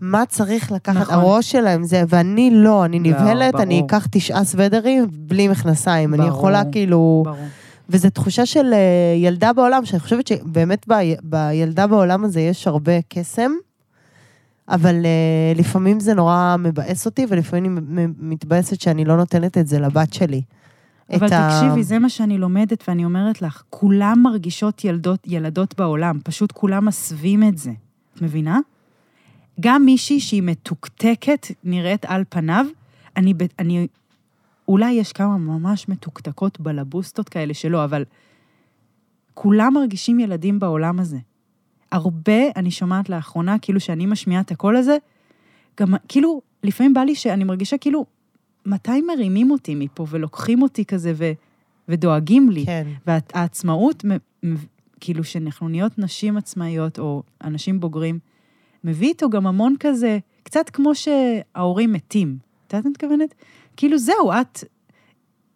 S5: מה צריך לקחת,
S4: נכון.
S5: הראש שלהם זה, ואני לא, אני
S4: לא,
S5: נבהלת, אני
S4: ברור.
S5: אקח תשעה סוודרים בלי מכנסיים. אני
S4: ברור.
S5: יכולה כאילו...
S4: ברור.
S5: וזו תחושה של אה, ילדה בעולם, שאני חושבת שבאמת ב, בילדה בעולם הזה יש הרבה קסם, אבל אה, לפעמים זה נורא מבאס אותי, ולפעמים אני מ- מתבאסת שאני לא נותנת את זה לבת שלי.
S4: אבל
S5: את ה-
S4: תקשיבי, זה מה שאני לומדת, ואני אומרת לך, כולם מרגישות ילדות, ילדות בעולם, פשוט כולם מסווים את זה. את מבינה? גם מישהי שהיא מתוקתקת, נראית על פניו, אני, ב- אני... אולי יש כמה ממש מתוקתקות בלבוסטות כאלה שלא, אבל כולם מרגישים ילדים בעולם הזה. הרבה אני שומעת לאחרונה, כאילו שאני משמיעה את הקול הזה, גם כאילו, לפעמים בא לי שאני מרגישה כאילו, מתי מרימים אותי מפה ולוקחים אותי כזה ו, ודואגים לי?
S5: כן.
S4: והעצמאות, מ- מ- כאילו שאנחנו נהיות נשים עצמאיות או אנשים בוגרים, מביא איתו גם המון כזה, קצת כמו שההורים מתים. את יודעת מה אני מתכוונת? כאילו זהו, את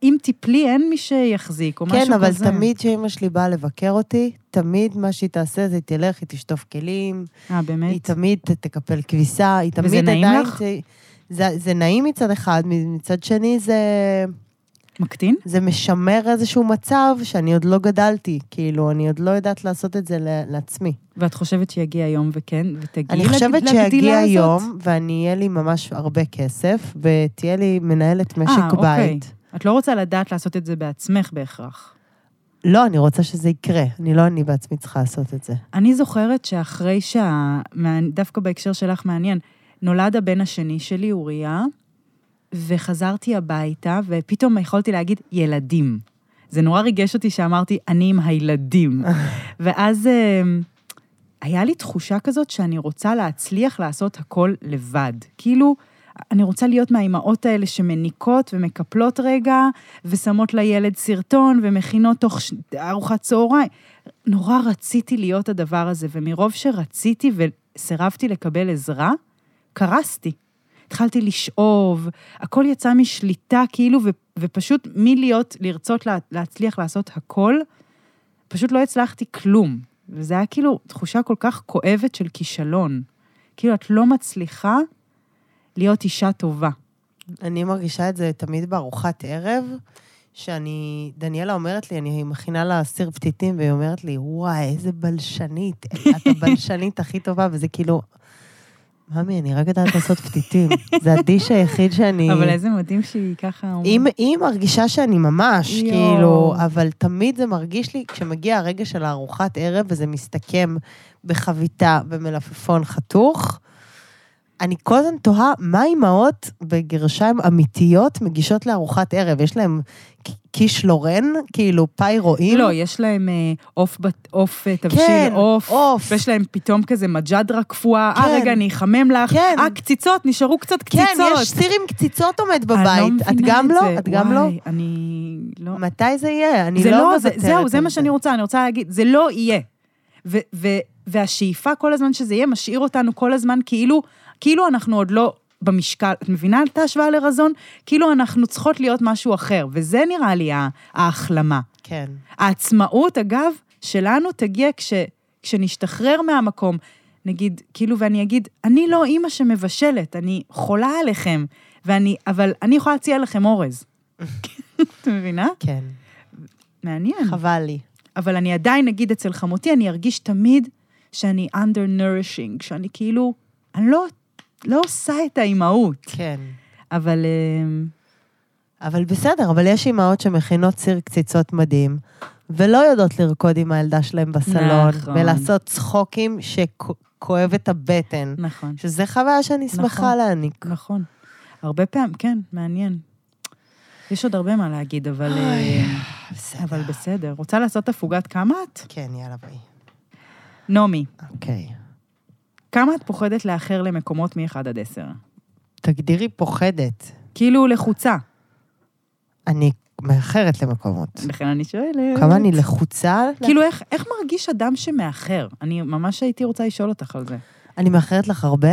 S4: אם תיפלי, אין מי שיחזיק, או משהו כזה.
S5: כן, אבל תמיד כשאמא שלי באה לבקר אותי, תמיד מה שהיא תעשה זה היא תלך, היא תשטוף כלים,
S4: אה,
S5: היא
S4: באמת?
S5: תמיד ת- תקפל כביסה, היא תמיד...
S4: וזה נעים
S5: עדיין
S4: לך?
S5: ת- זה, זה נעים מצד אחד, מצד שני זה,
S4: מקטין?
S5: זה משמר איזשהו מצב שאני עוד לא גדלתי, כאילו, אני עוד לא יודעת לעשות את זה ל- לעצמי.
S4: ואת חושבת שיגיע יום וכן, ותגיעי
S5: אני
S4: לג-
S5: חושבת
S4: לגדילה
S5: שיגיע
S4: הזאת?
S5: יום, ואני אהיה לי ממש הרבה כסף, ותהיה לי מנהלת
S4: אה,
S5: משק
S4: אוקיי.
S5: בית.
S4: את לא רוצה לדעת לעשות את זה בעצמך בהכרח.
S5: לא, אני רוצה שזה יקרה. אני לא אני בעצמי צריכה לעשות את זה.
S4: אני זוכרת שאחרי שה... מעניין- דווקא בהקשר שלך מעניין, נולד הבן השני שלי, אוריה, וחזרתי הביתה, ופתאום יכולתי להגיד, ילדים. זה נורא ריגש אותי שאמרתי, אני עם הילדים. ואז אה, היה לי תחושה כזאת שאני רוצה להצליח לעשות הכל לבד. כאילו, אני רוצה להיות מהאימהות האלה שמניקות ומקפלות רגע, ושמות לילד סרטון, ומכינות תוך ש... ארוחת צהריים. נורא רציתי להיות הדבר הזה, ומרוב שרציתי וסירבתי לקבל עזרה, קרסתי. התחלתי לשאוב, הכל יצא משליטה כאילו, ו- ופשוט מלהיות, לרצות לה- להצליח לעשות הכל, פשוט לא הצלחתי כלום. וזה היה כאילו תחושה כל כך כואבת של כישלון. כאילו, את לא מצליחה להיות אישה טובה.
S5: אני מרגישה את זה תמיד בארוחת ערב, שאני, דניאלה אומרת לי, אני מכינה לה סיר פתיתים, והיא אומרת לי, וואי, איזה בלשנית, את הבלשנית הכי טובה, וזה כאילו, ממי, אני רק יודעת לעשות פתיתים. זה הדיש היחיד שאני...
S4: אבל איזה מדהים שהיא ככה אומרת.
S5: אה. אם היא מרגישה שאני ממש,
S4: Mm. יואו.
S5: כאילו, אבל תמיד זה מרגיש לי, כשמגיע הרגע של הארוחת ערב וזה מסתכם בחביתה במלפפון חתוך, אני כל הזמן תוהה מה אימהות בגרשיים אמיתיות מגישות לארוחת ערב. יש להן ק- קיש לורן, כאילו פאי רואים?
S4: לא, יש להם אה, עוף, בת- עוף אה,
S5: כן,
S4: תבשיל עוף.
S5: עוף.
S4: ויש להם פתאום כזה מג'דרה קפואה.
S5: כן.
S4: אה, רגע, אני אחמם לך.
S5: כן.
S4: אה, קציצות, נשארו קצת קציצות.
S5: כן, יש סיר עם קציצות עומד
S4: אני לא
S5: בבית. את
S4: מבינה
S5: גם
S4: את
S5: לא?
S4: זה.
S5: את גם לא?
S4: וואי, אני לא...
S5: מתי זה יהיה? אני
S4: זה
S5: לא
S4: זה-
S5: מוותרת
S4: זהו, זה
S5: על
S4: מה שאני רוצה, אני רוצה להגיד, זה לא יהיה. ו- ו- והשאיפה כל הזמן שזה יהיה, משאיר אותנו כל הזמן כאילו, כאילו אנחנו עוד לא במשקל. את מבינה את ההשוואה לרזון? כאילו אנחנו צריכות להיות משהו אחר, וזה נראה לי ה- ההחלמה.
S5: כן.
S4: העצמאות, אגב, שלנו תגיע כש, כשנשתחרר מהמקום. נגיד, כאילו, ואני אגיד, אני לא אימא שמבשלת, אני חולה עליכם, ואני, אבל אני יכולה להציע לכם אורז. את מבינה?
S5: כן.
S4: מעניין.
S5: חבל לי.
S4: אבל אני עדיין, נגיד, אצל חמותי, אני ארגיש תמיד שאני undernourishing, שאני כאילו, אני לא, לא עושה את האימהות.
S5: כן.
S4: אבל אמ,
S5: אבל בסדר, אבל יש אימהות שמכינות סיר קציצות מדהים, ולא יודעות לרקוד עם הילדה שלהם בסלון,
S4: נכון.
S5: ולעשות צחוקים שכואב את הבטן,
S4: נכון,
S5: שזה חוויה שאני שמחה
S4: נכון.
S5: להעניק.
S4: נכון. הרבה פעמים, כן, מעניין. יש עוד הרבה מה להגיד, אבל... אמ, אבל בסדר. רוצה לעשות הפוגת כמה את?
S5: כן, יאללה ביי.
S4: נעמי,
S5: אוקיי.
S4: כמה את פוחדת לאחר למקומות מ-1 עד 10?
S5: תגדירי פוחדת.
S4: כאילו לחוצה,
S5: אני מאחרת למקומות.
S4: לכן אני שואלת.
S5: כמה אני לא- לחוצה?
S4: כאילו, איך, איך מרגיש אדם שמאחר? אני ממש הייתי רוצה לשאול אותך על זה.
S5: אני מאחרת לך הרבה?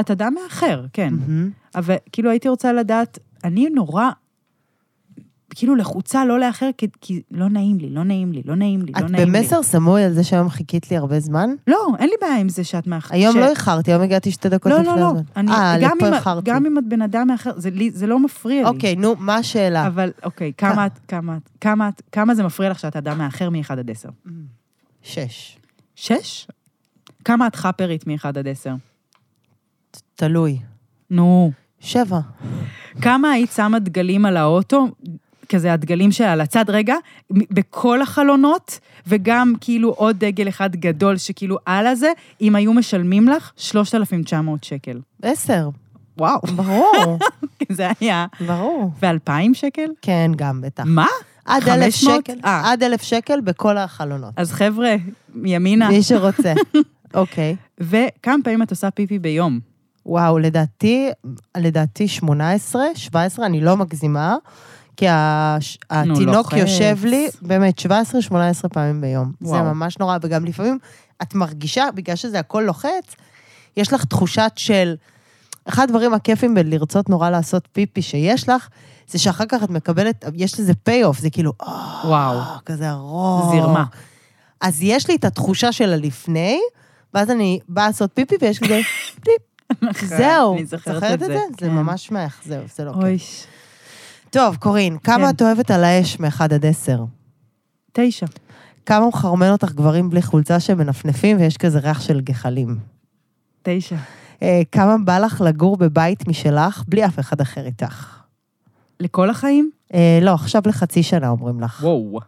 S4: את אדם מאחר, כן.
S5: מהמם.
S4: אבל כאילו הייתי רוצה לדעת, אני נורא, כאילו לחוצה לא לאחר, כי, כי לא נעים לי, לא נעים לי, לא נעים לי,
S5: את
S4: לא נעים לי.
S5: במסר סמוי על זה שהיום חיכית לי הרבה זמן?
S4: לא, אין לי בעיה עם זה שאת מאחרת.
S5: היום לא איחרתי, היום הגעתי שתי דקות
S4: לא,
S5: לפני
S4: לא, לא.
S5: הזמן.
S4: אני-
S5: אה,
S4: גם
S5: לפה
S4: אם-
S5: איחרתי.
S4: גם אם את בן אדם מאחר, זה לי- זה לא מפריע לי.
S5: אוקיי, נו, מה השאלה?
S4: אבל אוקיי, כמה את, כמה את, כמה את, כמה זה מפריע לך שאת אדם מאחר מ-1 עד 10?
S5: שש.
S4: שש? כמה את חאפרית מ-1 עד 10?
S5: תלוי.
S4: נו.
S5: שבע.
S4: כמה היית שמה דגלים על האוטו, כזה הדגלים שעל הצד, רגע, מ- בכל החלונות, וגם כאילו עוד דגל אחד גדול שכאילו על הזה, אם היו משלמים לך 3,900 שקל.
S5: עשר.
S4: וואו,
S5: ברור,
S4: זה היה.
S5: ברור.
S4: ו-2,000 שקל?
S5: כן, גם, בטח.
S4: מה?
S5: עד
S4: 500?
S5: אלף שקל,
S4: אה.
S5: עד אלף שקל בכל החלונות.
S4: אז חבר'ה, ימינה.
S5: מי שרוצה. אוקיי.
S4: וכמה פעמים את עושה פיפי ביום?
S5: וואו, לדעתי, לדעתי 18, 17, אני לא מגזימה, כי הש- התינוק
S4: לוחץ.
S5: יושב לי באמת 17, 18 פעמים ביום. זה
S4: וואו.
S5: ממש נורא, וגם לפעמים את מרגישה, בגלל שזה הכל לוחץ, יש לך תחושת של... אחד הדברים הכיפים בלרצות נורא לעשות פיפי שיש לך, זה שאחר כך את מקבלת, יש לזה פי-אוף, זה כאילו, אה,
S4: וואו.
S5: כזה ארוך.
S4: זרמה.
S5: אז יש לי את התחושה של הלפני, ואז אני באה לעשות פיפי ויש כזה, טיפ, זהו.
S4: כן, אני זוכרת את זה,
S5: זה
S4: כן.
S5: ממש מאכזב, זה לא
S4: אוי,
S5: כיף. טוב, קורין, כמה
S4: כן.
S5: את אוהבת על האש מ-1 עד 10?
S4: תשע.
S5: כמה הוא מחרמן אותך גברים בלי חולצה שמנפנפים ויש כזה ריח של גחלים?
S4: תשע.
S5: אה, כמה בא לך לגור בבית משלך בלי אף אחד אחר איתך?
S4: לכל החיים?
S5: אה, לא, עכשיו לחצי שנה אומרים לך.
S4: וואו.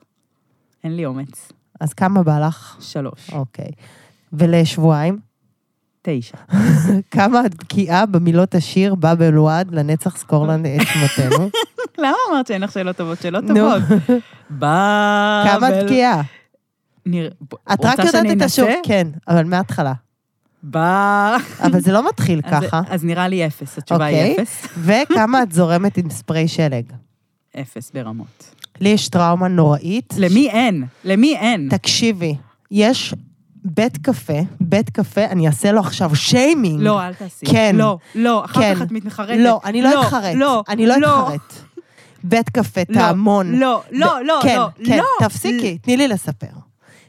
S4: אין לי אומץ.
S5: אז כמה בא לך?
S4: שלוש.
S5: אוקיי. ולשבועיים?
S4: תשע.
S5: כמה את בקיאה במילות השיר "בא אלועד לנצח זכור לנו את שמותינו"?
S4: אה, למה אמרת שאין לך שאלות טובות? שאלות
S5: נו.
S4: טובות. בא...
S5: כמה
S4: בל-
S5: את בקיאה?
S4: נראה-
S5: את
S4: רוצה
S5: רק יודעת
S4: שאני
S5: את השוק.
S4: אנסה?
S5: כן, אבל מההתחלה.
S4: בא...
S5: אבל זה לא מתחיל
S4: אז-
S5: ככה.
S4: אז נראה לי אפס, התשובה
S5: אוקיי.
S4: היא אפס.
S5: וכמה את זורמת עם ספרי שלג?
S4: אפס ברמות.
S5: לי יש טראומה נוראית.
S4: למי אין? למי אין?
S5: תקשיבי, יש בית קפה, בית קפה, אני אעשה לו עכשיו שיימינג.
S4: לא, אל תעשי.
S5: כן.
S4: לא, לא, אחר
S5: כן.
S4: כך את מתחרטת.
S5: לא, אני לא אתחרט.
S4: התחרט. לא,
S5: אני לא אתחרט. בית קפה, טעמון.
S4: לא, לא, לא,
S5: כן,
S4: לא,
S5: כן,
S4: לא.
S5: תפסיקי, תני לי לספר.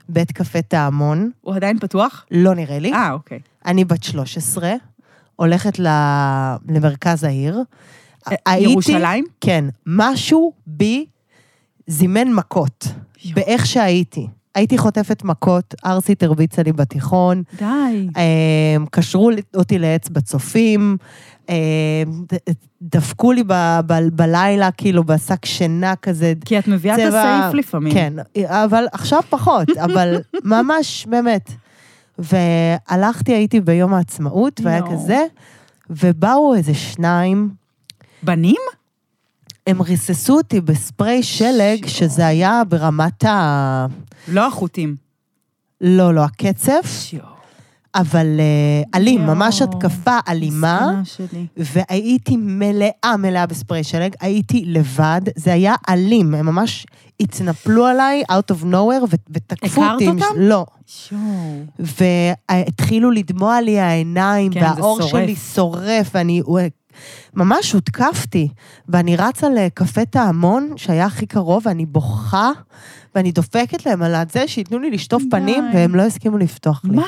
S5: בית קפה טעמון,
S4: הוא עדיין פתוח?
S5: לא נראה לי.
S4: אה, אוקיי.
S5: אני בת 13, הולכת ל- למרכז העיר.
S4: אה,
S5: הייתי-
S4: ירושלים?
S5: כן. משהו בי זימן מכות,
S4: יואו.
S5: באיך שהייתי. הייתי חוטפת מכות, ארסית הרביצה לי בתיכון,
S4: די.
S5: אמ, קשרו אותי לעץ בצופים, אמ, ד- דפקו לי ב- ב- בלילה, כאילו, בשק שינה כזה.
S4: כי את מביאה את
S5: צבע-
S4: הסעיף לפעמים.
S5: כן, אבל עכשיו פחות, אבל ממש, באמת. והלכתי, הייתי ביום העצמאות, והיה
S4: יואו.
S5: כזה, ובאו איזה שניים,
S4: בנים?
S5: הם ריססו אותי בספרי שלג, שזה היה ברמת ה...
S4: לא החוטים.
S5: לא, לא, הקצף,
S4: שיו.
S5: אבל אה, אלים,
S4: יואו.
S5: ממש התקפה אלימה.
S4: מסכנה שלי.
S5: והייתי מלאה מלאה בספרי שלג, הייתי לבד, זה היה אלים, הם ממש התנפלו עליי out of nowhere ו- ותקפו
S4: הכרת
S5: אותי. עם-
S4: אותם?
S5: לא.
S4: שואו.
S5: והתחילו לדמוע לי העיניים,
S4: כן,
S5: כן,
S4: זה
S5: והאור
S4: שורף.
S5: שלי שורף, ואני הוא- ממש הותקפתי. ואני רצה לקפה טעמון, שהיה הכי קרוב, ואני בוכה, ואני דופקת להם על זה שייתנו לי לשטוף
S4: די.
S5: פנים, והם לא הסכימו לפתוח לי.
S4: מה?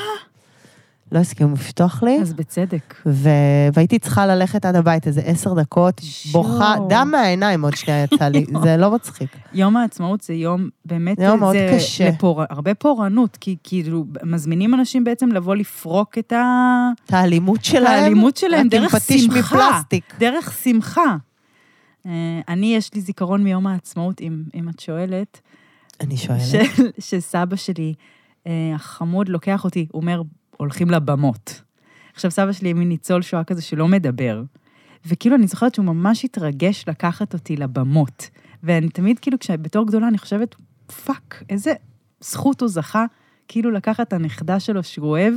S5: לא הסכימו לפתוח לי.
S4: אז בצדק.
S5: ו... והייתי צריכה ללכת עד הבית איזה עשר דקות,
S4: שואו.
S5: בוכה, דם מהעיניים עוד שנייה יצא לי, זה לא מצחיק.
S4: יום העצמאות זה יום, באמת,
S5: זה יום מאוד
S4: זה
S5: קשה.
S4: לפור... הרבה פורענות, כי כאילו, מזמינים אנשים בעצם לבוא לפרוק את ה...
S5: את האלימות שלהם,
S4: האלימות שלהם
S5: את עם
S4: דרך
S5: פטיש
S4: שמחה.
S5: מפלסטיק.
S4: דרך שמחה. אה, אני, יש לי זיכרון מיום העצמאות, אם, אם את שואלת,
S5: אני שואלת.
S4: של, שסבא שלי, אה, החמוד, לוקח אותי, הוא אומר, הולכים לבמות. עכשיו, סבא שלי מין ניצול שואה כזה שלא מדבר. וכאילו, אני זוכרת שהוא ממש התרגש לקחת אותי לבמות. ואני תמיד, כאילו, כש- בתור גדולה, אני חושבת, פאק, איזה זכות הוא זכה, כאילו, לקחת את הנכדה שלו שהוא אוהב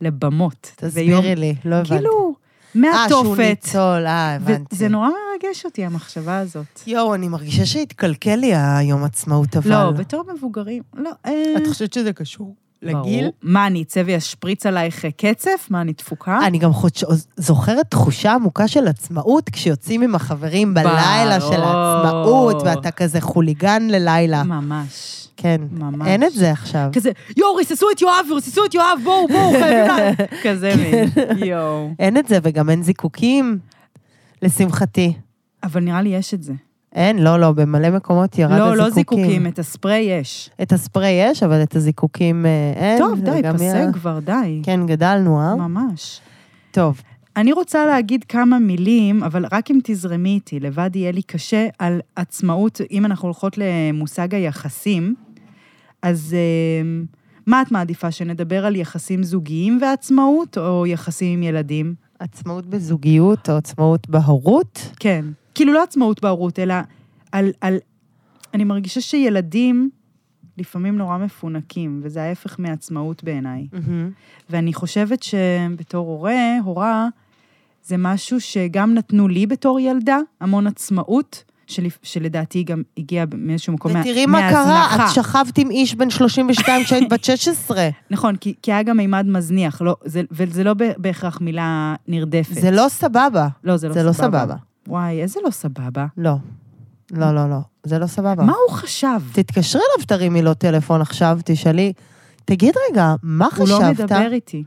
S4: לבמות. ויום-
S5: תסבירי לי, לא הבנתי.
S4: כאילו,
S5: אה, שהוא
S4: מהתופת.
S5: ניצול, אה, הבנתי.
S4: וזה נורא מרגש אותי, המחשבה הזאת.
S5: יואו, אני מרגישה שהתקלקל לי היום עצמאות, אבל...
S4: לא, בתור מבוגרים, לא, אה...
S5: את חושבת שזה קשור לגיל?
S4: ברור. מה, אני אצא וישפריץ עלייך אה, קצף? מה, אני דפוקה?
S5: אני גם חוש... זוכרת תחושה עמוקה של עצמאות כשיוצאים עם החברים בלילה
S4: ברור.
S5: של העצמאות, ואתה כזה חוליגן ללילה.
S4: ממש.
S5: כן.
S4: ממש.
S5: אין את זה עכשיו.
S4: כזה, יואו, ריססו את יואב, ריססו את יואב, בואו, בואו, חייבים לה... כזה
S5: כן.
S4: מין, יואו.
S5: אין את זה, וגם אין זיקוקים, לשמחתי.
S4: אבל נראה לי יש את זה.
S5: אין, לא, לא, במלא מקומות ירד
S4: לא,
S5: הזיקוקים.
S4: לא זיקוקים, את הספרי יש.
S5: את הספרי יש, אבל את הזיקוקים אה, אין.
S4: טוב, די,
S5: וגם
S4: פסק
S5: יא-
S4: כבר, די.
S5: כן, גדלנו, אה?
S4: ממש.
S5: טוב.
S4: אני רוצה להגיד כמה מילים, אבל רק אם תזרמי איתי, לבד יהיה לי קשה, על עצמאות, אם אנחנו הולכות למושג היחסים, אז אה, מה את מעדיפה, שנדבר על יחסים זוגיים ועצמאות, או יחסים עם ילדים?
S5: עצמאות בזוגיות או עצמאות בהורות?
S4: כן. כאילו לא עצמאות בהורות, אלא על, על... אני מרגישה שילדים לפעמים נורא מפונקים, וזה ההפך מעצמאות בעיניי. ואני חושבת שבתור הורה, הורה, זה משהו שגם נתנו לי בתור ילדה, המון עצמאות, של, שלדעתי גם הגיעה מאיזשהו מקום מה-
S5: ותראי מה קרה,
S4: מההזנחה.
S5: את שכבת עם איש בן 32 כשהיית בת 16.
S4: נכון, כי, כי היה גם מימד מזניח, לא, זה, וזה לא ב- בהכרח מילה נרדפת.
S5: זה לא סבבה.
S4: לא, זה לא
S5: זה
S4: סבבה.
S5: לא סבבה.
S4: וואי, איזה לא סבבה.
S5: לא. לא, לא, לא. זה לא סבבה.
S4: מה הוא חשב?
S5: תתקשרי אליו, תרימי לו טלפון עכשיו, תשאלי. תגיד רגע, מה
S4: הוא
S5: חשבת?
S4: לא מדבר איתי.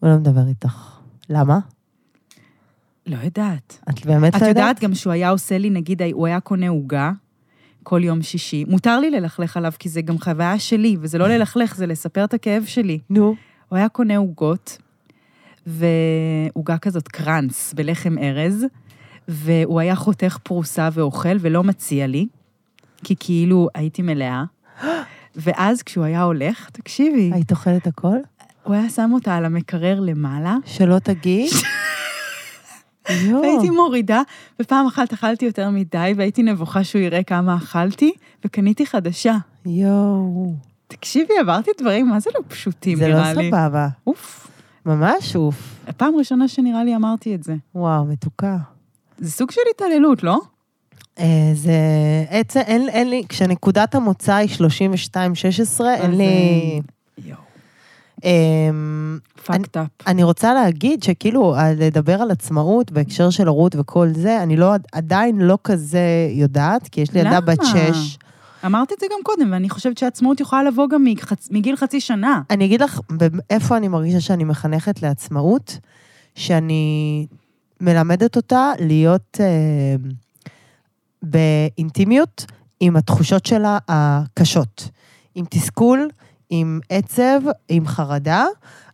S5: הוא לא מדבר איתך. למה?
S4: לא יודעת.
S5: את באמת
S4: את
S5: לא
S4: יודעת גם שהוא היה עושה לי, נגיד, הוא היה קונה עוגה כל יום שישי. מותר לי ללכלך עליו, כי זה גם חוויה שלי, וזה לא ללכלך, זה לספר את הכאב שלי.
S5: נו.
S4: הוא היה קונה עוגות, ועוגה כזאת קרנץ בלחם ארז, והוא היה חותך פרוסה ואוכל ולא מציע לי, כי כאילו הייתי מלאה. ואז כשהוא היה הולך, תקשיבי,
S5: היית אוכלת הכל?
S4: הוא היה שם אותה על המקרר למעלה,
S5: שלא תגיד? יואו.
S4: והייתי מורידה, ופעם אחת אכלתי יותר מדי, והייתי נבוכה שהוא יראה כמה אכלתי, וקניתי חדשה.
S5: יואו.
S4: תקשיבי, עברתי דברים, מה זה לא פשוטים,
S5: זה לא
S4: נראה לי.
S5: סבבה.
S4: אוף.
S5: ממש אוף.
S4: פעם ראשונה שנראה לי אמרתי את זה.
S5: וואו, מתוקה.
S4: זה סוג של התעללות, לא?
S5: אה, זה... עצם, אין, אין לי... כשנקודת המוצא היא 32-16, אין
S4: אז, אה,
S5: לי...
S4: יואו.
S5: אמ,
S4: fucked up.
S5: אני רוצה להגיד שכאילו, אה, לדבר על עצמאות בהקשר של הורות וכל זה, אני לא, עדיין לא כזה יודעת, כי יש לי ילדה
S4: למה?
S5: בת שש.
S4: אמרת את זה גם קודם, ואני חושבת שעצמאות יכולה לבוא גם מחצ... מגיל חצי שנה.
S5: אני אגיד לך במ- איפה אני מרגישה שאני מחנכת לעצמאות, שאני מלמדת אותה להיות אה, באינטימיות עם התחושות שלה הקשות, עם תסכול, עם עצב, עם חרדה.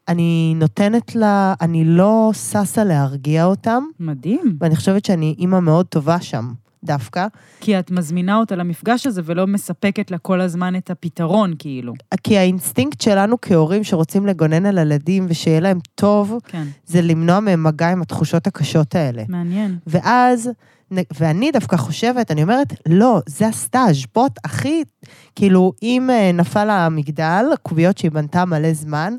S5: אני נותנת לה, אני לא ששה להרגיע אותם,
S4: מדהים.
S5: ואני חושבת שאני אימא מאוד טובה שם, דווקא.
S4: כי את מזמינה אותה למפגש הזה ולא מספקת לה כל הזמן את הפתרון, כאילו.
S5: כי האינסטינקט שלנו כהורים שרוצים לגונן על ילדים ושיהיה להם טוב,
S4: כן,
S5: זה למנוע מהם מגע עם התחושות הקשות האלה.
S4: מעניין.
S5: ואז, נ- ואני דווקא חושבת, אני אומרת, לא, זה הסטאז', בוא, את הכי, כאילו, אם אה, נפל לה המגדל, קוביות שהיא בנתה מלא זמן,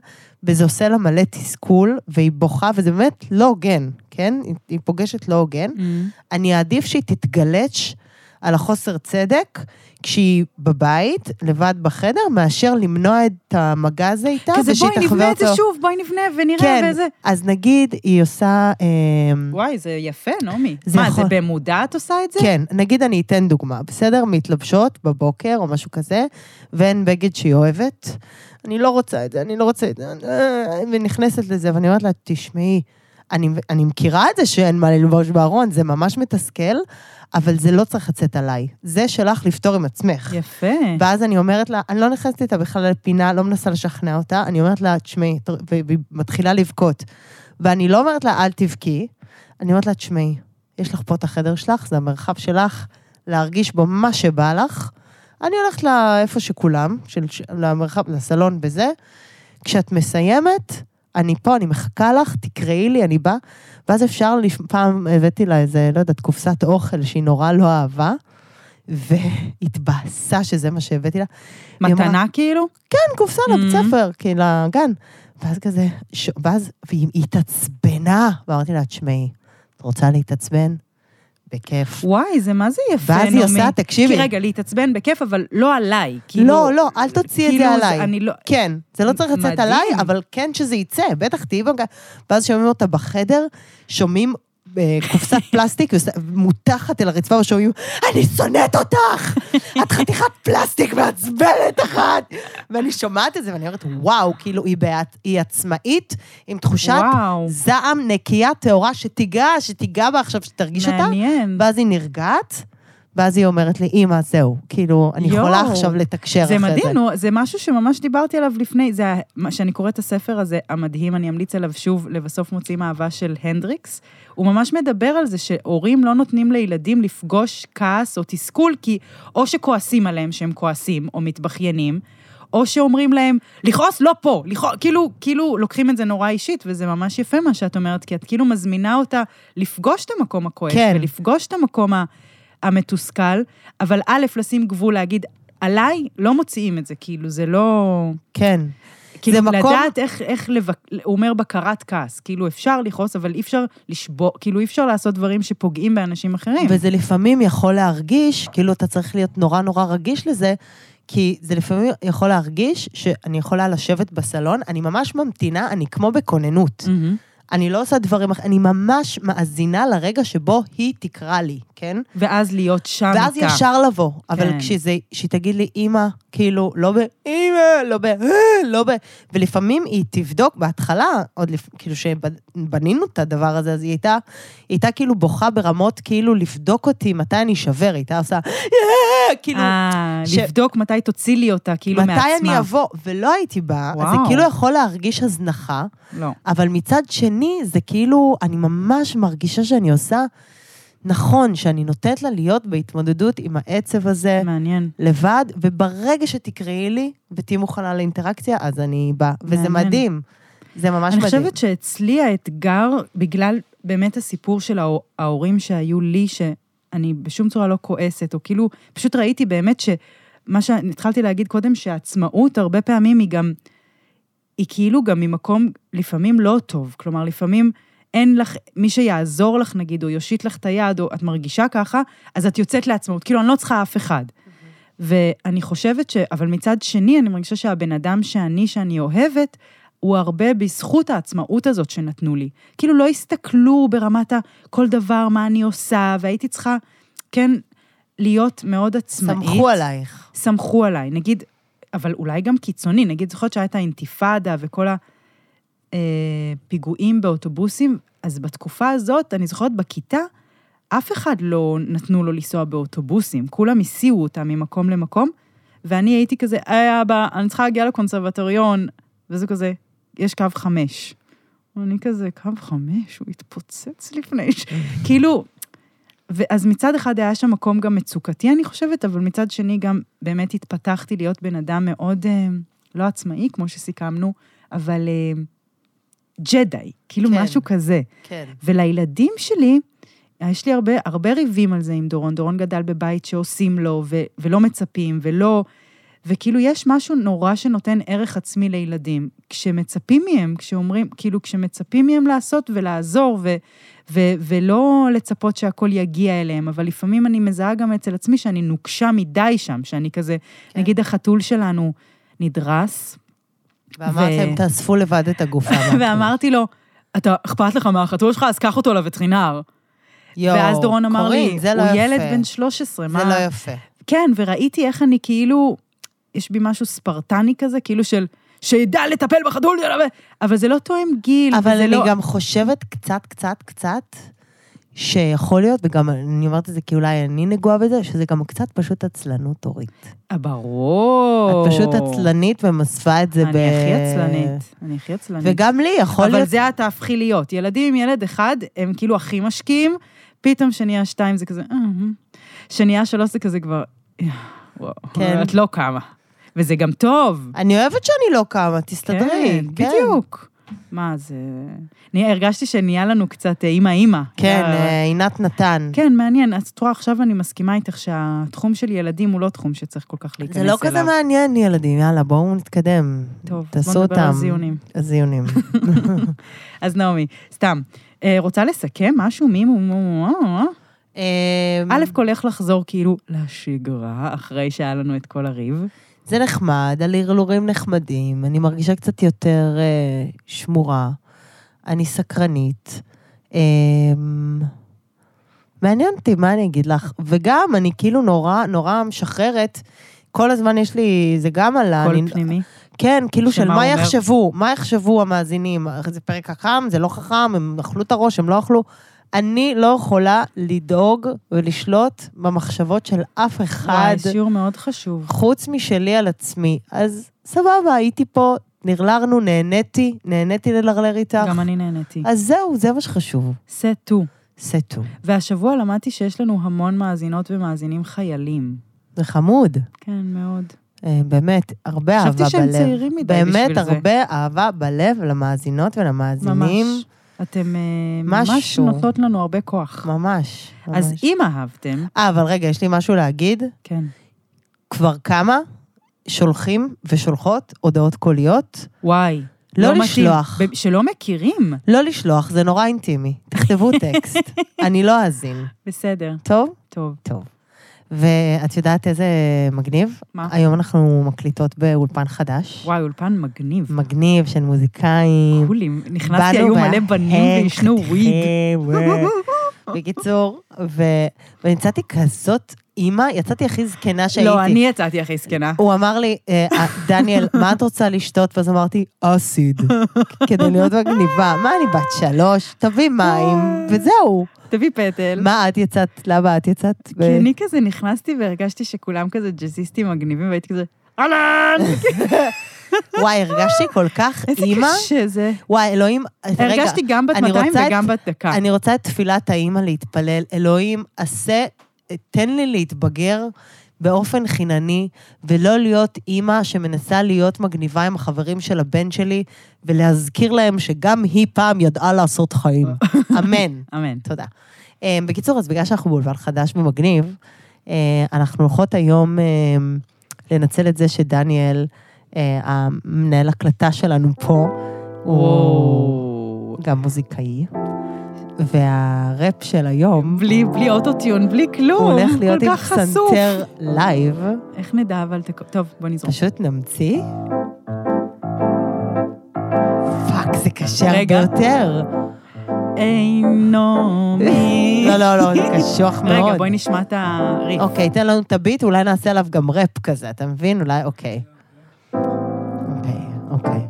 S5: וזה עושה לה מלא תסכול, והיא בוכה, וזה באמת לא הוגן, כן? היא, היא פוגשת לא הוגן. אני אעדיף שהיא תתגלץ' על החוסר צדק כשהיא בבית, לבד בחדר, מאשר למנוע את המגע הזה איתה,
S4: כזה
S5: ושהיא
S4: בואי
S5: תחווה אותו.
S4: נבנה את זה שוב, בואי נבנה ונראה
S5: כן,
S4: וזה.
S5: אז נגיד היא עושה... אמ,
S4: וואי, זה יפה, נעמי.
S5: זה נכון.
S4: מה, זה
S5: יכול-
S4: במודע את עושה את זה?
S5: כן, נגיד אני אתן דוגמה, בסדר? מתלבשות בבוקר או משהו כזה, ואין בגד שהיא אוהבת. אני לא רוצה את זה, אני לא רוצה את זה, אה, ונכנסת לזה, ואני אומרת לה, תשמעי, אני, אני מכירה את זה שאין מה ללבוש בארון, זה ממש מתסכל, אבל זה לא צריך לצאת עליי. זה שלך לפתור עם עצמך.
S4: יפה.
S5: ואז אני אומרת לה, אני לא נכנסת איתה בכלל לפינה, לא מנסה לשכנע אותה, אני אומרת לה, תשמעי, תר- והיא והיא מתחילה לבכות. ואני לא אומרת לה, אל תבכי, אני אומרת לה, תשמעי, יש לך פה את החדר שלך, זה המרחב שלך, להרגיש בו מה שבא לך. אני הולכת לאיפה שכולם, של, ש- למרחב, לסלון וזה. כשאת מסיימת, אני פה, אני מחכה לך, תקראי לי, אני באה. ואז אפשר, לפ... פעם הבאתי לה איזה, לא יודעת, קופסת אוכל שהיא נורא לא אהבה, והתבאסה שזה מה שהבאתי לה. היא אמרה,
S4: מתנה כאילו?
S5: כן, קופסה לבית
S4: Mhm.
S5: ספר, כי לגן. ואז כזה, ש... ואז, והיא התעצבנה, ואמרתי לה, תשמעי, את רוצה להתעצבן? בכיף.
S4: וואי, זה מה זה יפה, נעמי.
S5: ואז היא עושה,
S4: כי
S5: תקשיבי,
S4: רגע, להתעצבן בכיף, אבל לא עליי. כאילו-
S5: לא, לא, אל תוציאי את
S4: כאילו,
S5: זה עליי.
S4: אני לא...
S5: כן, זה לא צריך לצאת
S4: מדהים.
S5: עליי, אבל כן שזה יצא, בטח תהיי במגע. ואז שומעים אותה בחדר, שומעים אה, קופסת פלסטיק ועושה- מותחת אל הרצפה ושומעים, אני שונאת אותך! את חתיכת פלסטיק מעצבנת אחת! ואני שומעת את זה ואני אומרת, וואו, כאילו היא, בעת, היא עצמאית, עם תחושת
S4: וואו.
S5: זעם נקייה טהורה שתיגע, שתיגע בה עכשיו, שתרגיש אותה.
S4: מעניין.
S5: ואז היא נרגעת, ואז היא אומרת לי, אמא, זהו, כאילו, אני
S4: יואו.
S5: יכולה עכשיו לתקשר
S4: זה
S5: אחרי זה.
S4: מדהים, נו, זה משהו שממש דיברתי עליו לפני, זה ה- מה שאני קוראת את הספר הזה, המדהים, אני אמליץ עליו שוב, לבסוף מוצאים אהבה של הנדריקס. הוא ממש מדבר על זה שהורים לא נותנים לילדים לפגוש כעס או תסכול, כי או שכועסים עליהם שהם כועסים, או מתבכיינים, או שאומרים להם, לכעוס לא פה, לכעוס, כאילו, כאילו לוקחים את זה נורא אישית, וזה ממש יפה מה שאת אומרת, כי את כאילו מזמינה אותה לפגוש את המקום הכועס,
S5: כן.
S4: ולפגוש את המקום ה... המתוסכל, אבל א', לשים גבול, להגיד, עליי לא מוציאים את זה, כאילו, זה לא...
S5: כן.
S4: כאילו,
S5: זה מקום-
S4: לדעת איך, איך לבק... הוא אומר בקרת כעס. כאילו, אפשר לכעוס, אבל אי אפשר לשבור, כאילו, אי אפשר לעשות דברים שפוגעים באנשים אחרים.
S5: וזה לפעמים יכול להרגיש, כאילו אתה צריך להיות נורא נורא רגיש לזה, כי זה לפעמים יכול להרגיש שאני יכולה לשבת בסלון, אני ממש ממתינה, אני כמו בכוננות.
S4: מהמם.
S5: אני לא עושה דברים אחרים, אני ממש מאזינה לרגע שבו היא תקרא לי, כן?
S4: ואז להיות שם איתה.
S5: ואז ישר לבוא.
S4: כן.
S5: אבל כשזה, שהיא תגיד לי, אימא, כאילו, לא ב... אימא, לא ב... "אה", לא ב... ולפעמים היא תבדוק בהתחלה, עוד לפ... כאילו שבנינו את הדבר הזה, אז היא הייתה, היא הייתה כאילו בוכה ברמות, כאילו לבדוק אותי מתי אני אשבר, היא הייתה עושה... "אה", כאילו,
S4: אה,
S5: ש-
S4: לבדוק מתי תוציא לי אותה, כאילו,
S5: מתי
S4: מעצמה.
S5: אני אבוא? ולא הייתי באה, אז זה
S4: וואו.
S5: כאילו יכול להרגיש הזנחה.
S4: לא.
S5: אבל מצד שני, זה כאילו, אני ממש מרגישה שאני עושה נכון, שאני נותנת לה להיות בהתמודדות עם העצב הזה
S4: מעניין.
S5: לבד, וברגע שתקראי לי ותהיי מוכנה לאינטראקציה, אז אני באה. וזה
S4: מעניין.
S5: מדהים. זה ממש
S4: אני
S5: מדהים.
S4: חושבת שאצלי האתגר, בגלל באמת הסיפור של ההור- ההורים שהיו לי, שאני בשום צורה לא כועסת, או כאילו, פשוט ראיתי באמת ש... מה שהתחלתי להגיד קודם, שהעצמאות הרבה פעמים היא גם... היא כאילו גם ממקום לפעמים לא טוב. כלומר, לפעמים אין לך, מי שיעזור לך נגיד, או יושיט לך את היד, או את מרגישה ככה, אז את יוצאת לעצמאות. כאילו, אני לא צריכה אף אחד. ואני חושבת ש... אבל מצד שני, אני מרגישה שהבן אדם שאני, שאני אוהבת, הוא הרבה בזכות העצמאות הזאת שנתנו לי. כאילו, לא הסתכלו ברמת ה... כל דבר, מה אני עושה, והייתי צריכה, כן, להיות מאוד עצמאית.
S5: סמכו עלייך.
S4: סמכו עליי, נגיד, אבל אולי גם קיצוני, נגיד, זוכרת שהייתה האינתיפאדה וכל הפיגועים באוטובוסים, אז בתקופה הזאת, אני זוכרת בכיתה, אף אחד לא נתנו לו לנסוע באוטובוסים, כולם הסיעו אותה ממקום למקום, ואני הייתי כזה, היי אבא, אני צריכה להגיע לקונסרבטוריון, וזה כזה, יש קו חמש. אני כזה, קו חמש, הוא התפוצץ לפני ש... כאילו, ואז מצד אחד היה שם מקום גם מצוקתי, אני חושבת, אבל מצד שני גם באמת התפתחתי להיות בן אדם מאוד אה, לא עצמאי, כמו שסיכמנו, אבל אה, ג'די, כאילו
S5: כן.
S4: משהו כזה.
S5: כן.
S4: ולילדים שלי, יש לי הרבה, הרבה ריבים על זה עם דורון. דורון גדל בבית שעושים לו ו, ולא מצפים ולא... וכאילו, יש משהו נורא שנותן ערך עצמי לילדים. כשמצפים מהם, כשאומרים, כאילו, כשמצפים מהם לעשות ולעזור, ו, ו, ולא לצפות שהכל יגיע אליהם, אבל לפעמים אני מזהה גם אצל עצמי שאני נוקשה מדי שם, שאני כזה, כן.
S5: כן.
S4: נגיד החתול שלנו נדרס,
S5: ואמרתם,
S4: ו-
S5: תאספו לבד את הגוף. אמרתם.
S4: ואמרתי לו, אתה, אכפת לך מהחתול שלך, אז קח אותו לווטרינר.
S5: יואו,
S4: ואז דורון אמר לי,
S5: קורין, לא, זה לא
S4: הוא
S5: יפה.
S4: ילד בן 13,
S5: זה
S4: מה?
S5: לא יפה.
S4: כן, וראיתי איך אני כאילו, יש בי משהו ספרטני כזה, כאילו של, שידע לטפל בחתול שלו, ו- אבל זה לא תואם גיל,
S5: אבל
S4: וזה
S5: אני
S4: לא...
S5: גם חושבת קצת, קצת, קצת, שיכול להיות, וגם אני אומרת את זה כי אולי אני נגועה בזה, שזה גם קצת פשוט עצלנות, אורית.
S4: אה, ברור.
S5: את פשוט עצלנית ומסווה את זה ב...
S4: אני הכי עצלנית, אני הכי עצלנית.
S5: וגם לי יכול
S4: אבל
S5: להיות...
S4: זה את תהפכי להיות. ילדים עם ילד אחד, הם כאילו הכי משקיעים, פתאום שנהיה שתיים זה כזה, "אה, אה." שנהיה שלוש זה כזה כבר, "אה, וואו,
S5: כן.
S4: את לא קמה. וזה גם טוב.
S5: אני אוהבת שאני לא קמה, תסתדרי.
S4: כן, בדיוק. מה זה... אני הרגשתי שנהיה לנו קצת אה, אימא-אימא.
S5: כן, אה, עינת נתן.
S4: כן, מעניין. אז את רואה, עכשיו אני מסכימה איתך שהתחום של ילדים הוא לא תחום שצריך כל כך להיכנס
S5: זה
S4: אליו.
S5: לא כזה מעניין, ילדים, יאללה, בואו נתקדם.
S4: טוב, אז
S5: תעשו
S4: בוא נדבר על
S5: אותם.
S4: זיונים.
S5: הזיונים.
S4: אז נעמי, סתם. אה, רוצה לסכם משהו? מי מו- מו- מו- מו- מו-
S5: אה, אמ.
S4: א', קולך לחזור כאילו לשגרה, אחרי שהיה לנו את כל הריב.
S5: זה נחמד, הלרלורים נחמדים, אני מרגישה קצת יותר אה, שמורה, אני סקרנית. אה, מעניין אותי, מה אני אגיד לך? וגם, אני כאילו נורא, נורא משחררת. כל הזמן יש לי, זה גם על ה...
S4: קול
S5: אני-
S4: פנימי.
S5: כן, כאילו
S4: שמה
S5: של
S4: הוא
S5: מה
S4: אומר?
S5: יחשבו, מה יחשבו המאזינים, זה פרק חכם, זה לא חכם, הם אכלו את הראש, הם לא אכלו. אני לא יכולה לדאוג ולשלוט במחשבות של אף אחד.
S4: וואי, שיעור מאוד חשוב.
S5: חוץ משלי על עצמי. אז סבבה, הייתי פה, נרלרנו, נהניתי, נהניתי ללרלר איתך.
S4: גם אני נהניתי.
S5: אז זהו, זה מה שחשוב.
S4: סטו.
S5: סטו.
S4: והשבוע למדתי שיש לנו המון מאזינות ומאזינים חיילים.
S5: זה חמוד.
S4: כן, מאוד.
S5: אה, באמת, הרבה אהבה בלב.
S4: חשבתי שהם צעירים מדי בשביל
S5: באמת,
S4: זה.
S5: הרבה אהבה בלב למאזינות ולמאזינים.
S4: ממש. אתם אה, ממש
S5: משהו.
S4: נותנות לנו הרבה כוח.
S5: לא. ממש.
S4: אז
S5: ממש.
S4: אם אהבתם,
S5: כן. אה, אבל רגע, יש לי משהו להגיד.
S4: כן.
S5: כבר כמה? שולחים ושולחות הודעות קוליות.
S4: וואי.
S5: לא
S4: מתאים.
S5: לשלוח.
S4: ב- שלא מכירים.
S5: לא לשלוח, זה נורא אינטימי. תכתבו טקסט, אני לא אאזין.
S4: בסדר,
S5: טוב?
S4: טוב.
S5: טוב. ואת יודעת איזה מגניב?
S4: מה?
S5: היום אנחנו מקליטות באולפן חדש.
S4: וואי, אולפן מגניב.
S5: מגניב של מוזיקאים. כן,
S4: קולים. נכנסתי, היו מלא בנים ועישנו וויד.
S5: בקיצור, ו... ונמצאתי כזאת אימא, יצאתי הכי זקנה שהייתי.
S4: לא, אני יצאתי הכי זקנה.
S5: הוא אמר לי, אה, אה, דניאל, מה את רוצה לשתות? ואז אמרתי, אסיד. כדי להיות מגניבה. מה, אני בת שלוש? תביא מים, וזהו.
S4: תביא פטל.
S5: מה את יצאת? למה את יצאת? ב-
S4: כי אני כזה נכנסתי והרגשתי שכולם כזה ג'אזיסטים מגניבים, והייתי כזה, אהלן!
S5: וואי, הרגשתי כל כך
S4: איזה
S5: אימא.
S4: קשה זה.
S5: וואי, אלוהים, רגע.
S4: הרגשתי גם בת
S5: אני
S4: 200
S5: רוצה את-
S4: וגם בת דקה.
S5: אני רוצה את תפילת האימא להתפלל. אלוהים, עשה, תן לי להתבגר באופן חינני, ולא להיות אימא שמנסה להיות מגניבה עם החברים של הבן שלי, ולהזכיר להם שגם היא פעם ידעה לעשות חיים. אמן.
S4: אמן.
S5: תודה. אה, בקיצור, אז בגלל שאנחנו באולפן חדש ומגניב, אה, אנחנו הולכות היום אה, לנצל את זה שדניאל, אה, המנהל הקלטה שלנו פה, הוא... גם מוזיקאי. והראפ של היום,
S4: בלי, בלי אוטוטיון, בלי
S5: הוא
S4: כלום.
S5: הולך להיות
S4: כל
S5: עם
S4: כך חשוף.
S5: פסנתר לייב.
S4: איך נדע אבל... תק- טוב, בוא נזרום.
S5: פשוט נמציא. פאק, זה קשה הרבה
S4: רגע.
S5: יותר.
S4: אינו מי.
S5: לא, לא, לא, זה קשוח מאוד.
S4: רגע, בואי נשמע את הריף.
S5: אוקיי, תן לנו את הביט, אולי נעשה עליו גם ראפ כזה, אתה מבין? אולי, אוקיי. אוקיי, אוקיי.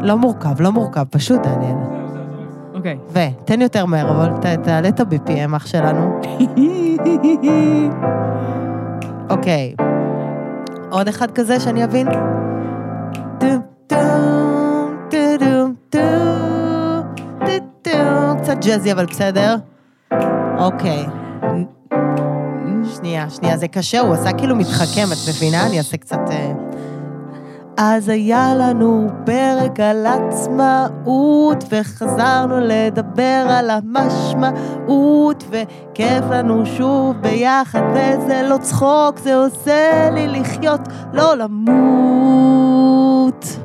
S5: לא מורכב, לא מורכב, פשוט, דניאל.
S4: אוקיי.
S5: ותן יותר מהר, אבל ת- תעלה את ה-BPM, אח שלנו. אוקיי. עוד אחד כזה שאני אבין? טום, טום, טו-דום, טו, טו-דום. קצת ג'אזי, אבל בסדר. אוקיי. שנייה, שנייה, זה קשה, הוא עשה כאילו מתחכם, את מבינה? אני אעשה קצת... אה. אז היה לנו פרק על עצמאות, וחזרנו לדבר על המשמעות, וכיף לנו שוב ביחד, וזה לא צחוק, זה עושה לי לחיות, לא למות.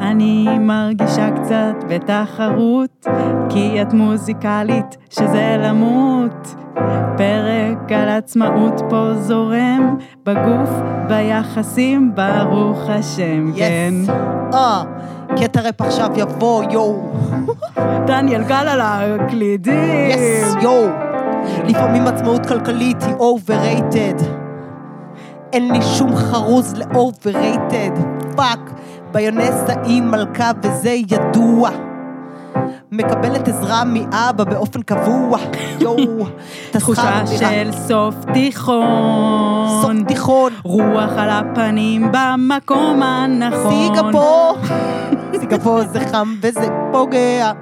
S4: אני מרגישה קצת בתחרות, כי את מוזיקלית, שזה למות. פרק על עצמאות פה זורם, בגוף, ביחסים, ברוך השם, כן.
S5: יס. אה, קטע רפ עכשיו יבוא, יואו.
S4: דניאל גל על הקלידים.
S5: יס, יואו. לפעמים עצמאות כלכלית היא overrated. אין לי שום חרוז ל-overrated. פאק. ביונסה היא מלכה וזה ידוע. מקבלת עזרה מאבא באופן קבוע. יואו.
S4: תחושה של סוף תיכון.
S5: סוף תיכון.
S4: רוח על הפנים במקום הנכון.
S5: סיגפור. סיגפור זה חם וזה פוגע.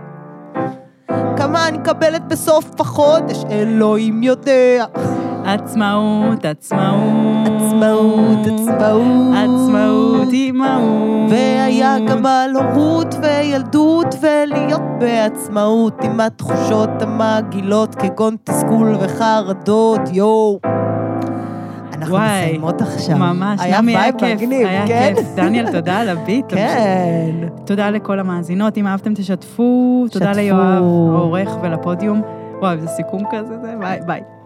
S5: כמה אני מקבלת בסוף החודש, אלוהים יודע.
S4: עצמאות, עצמאות.
S5: עצמאות, עצמאות.
S4: עצמאות, אימהות.
S5: והיה גם על הורות וילדות ולהיות בעצמאות עם התחושות המגעילות כגון תסכול וחרדות, יואו. אנחנו
S4: וואי,
S5: מסיימות עכשיו.
S4: ממש, נעמי, היה
S5: וייב
S4: כיף,
S5: מגניב,
S4: היה
S5: כן?
S4: כיף. דניאל, תודה על הביט.
S5: כן.
S4: תודה לכל המאזינות, אם אהבתם תשתפו, תודה
S5: שתפו.
S4: ליואב, העורך ולפודיום. וואי, זה סיכום כזה, זה, ביי, ביי.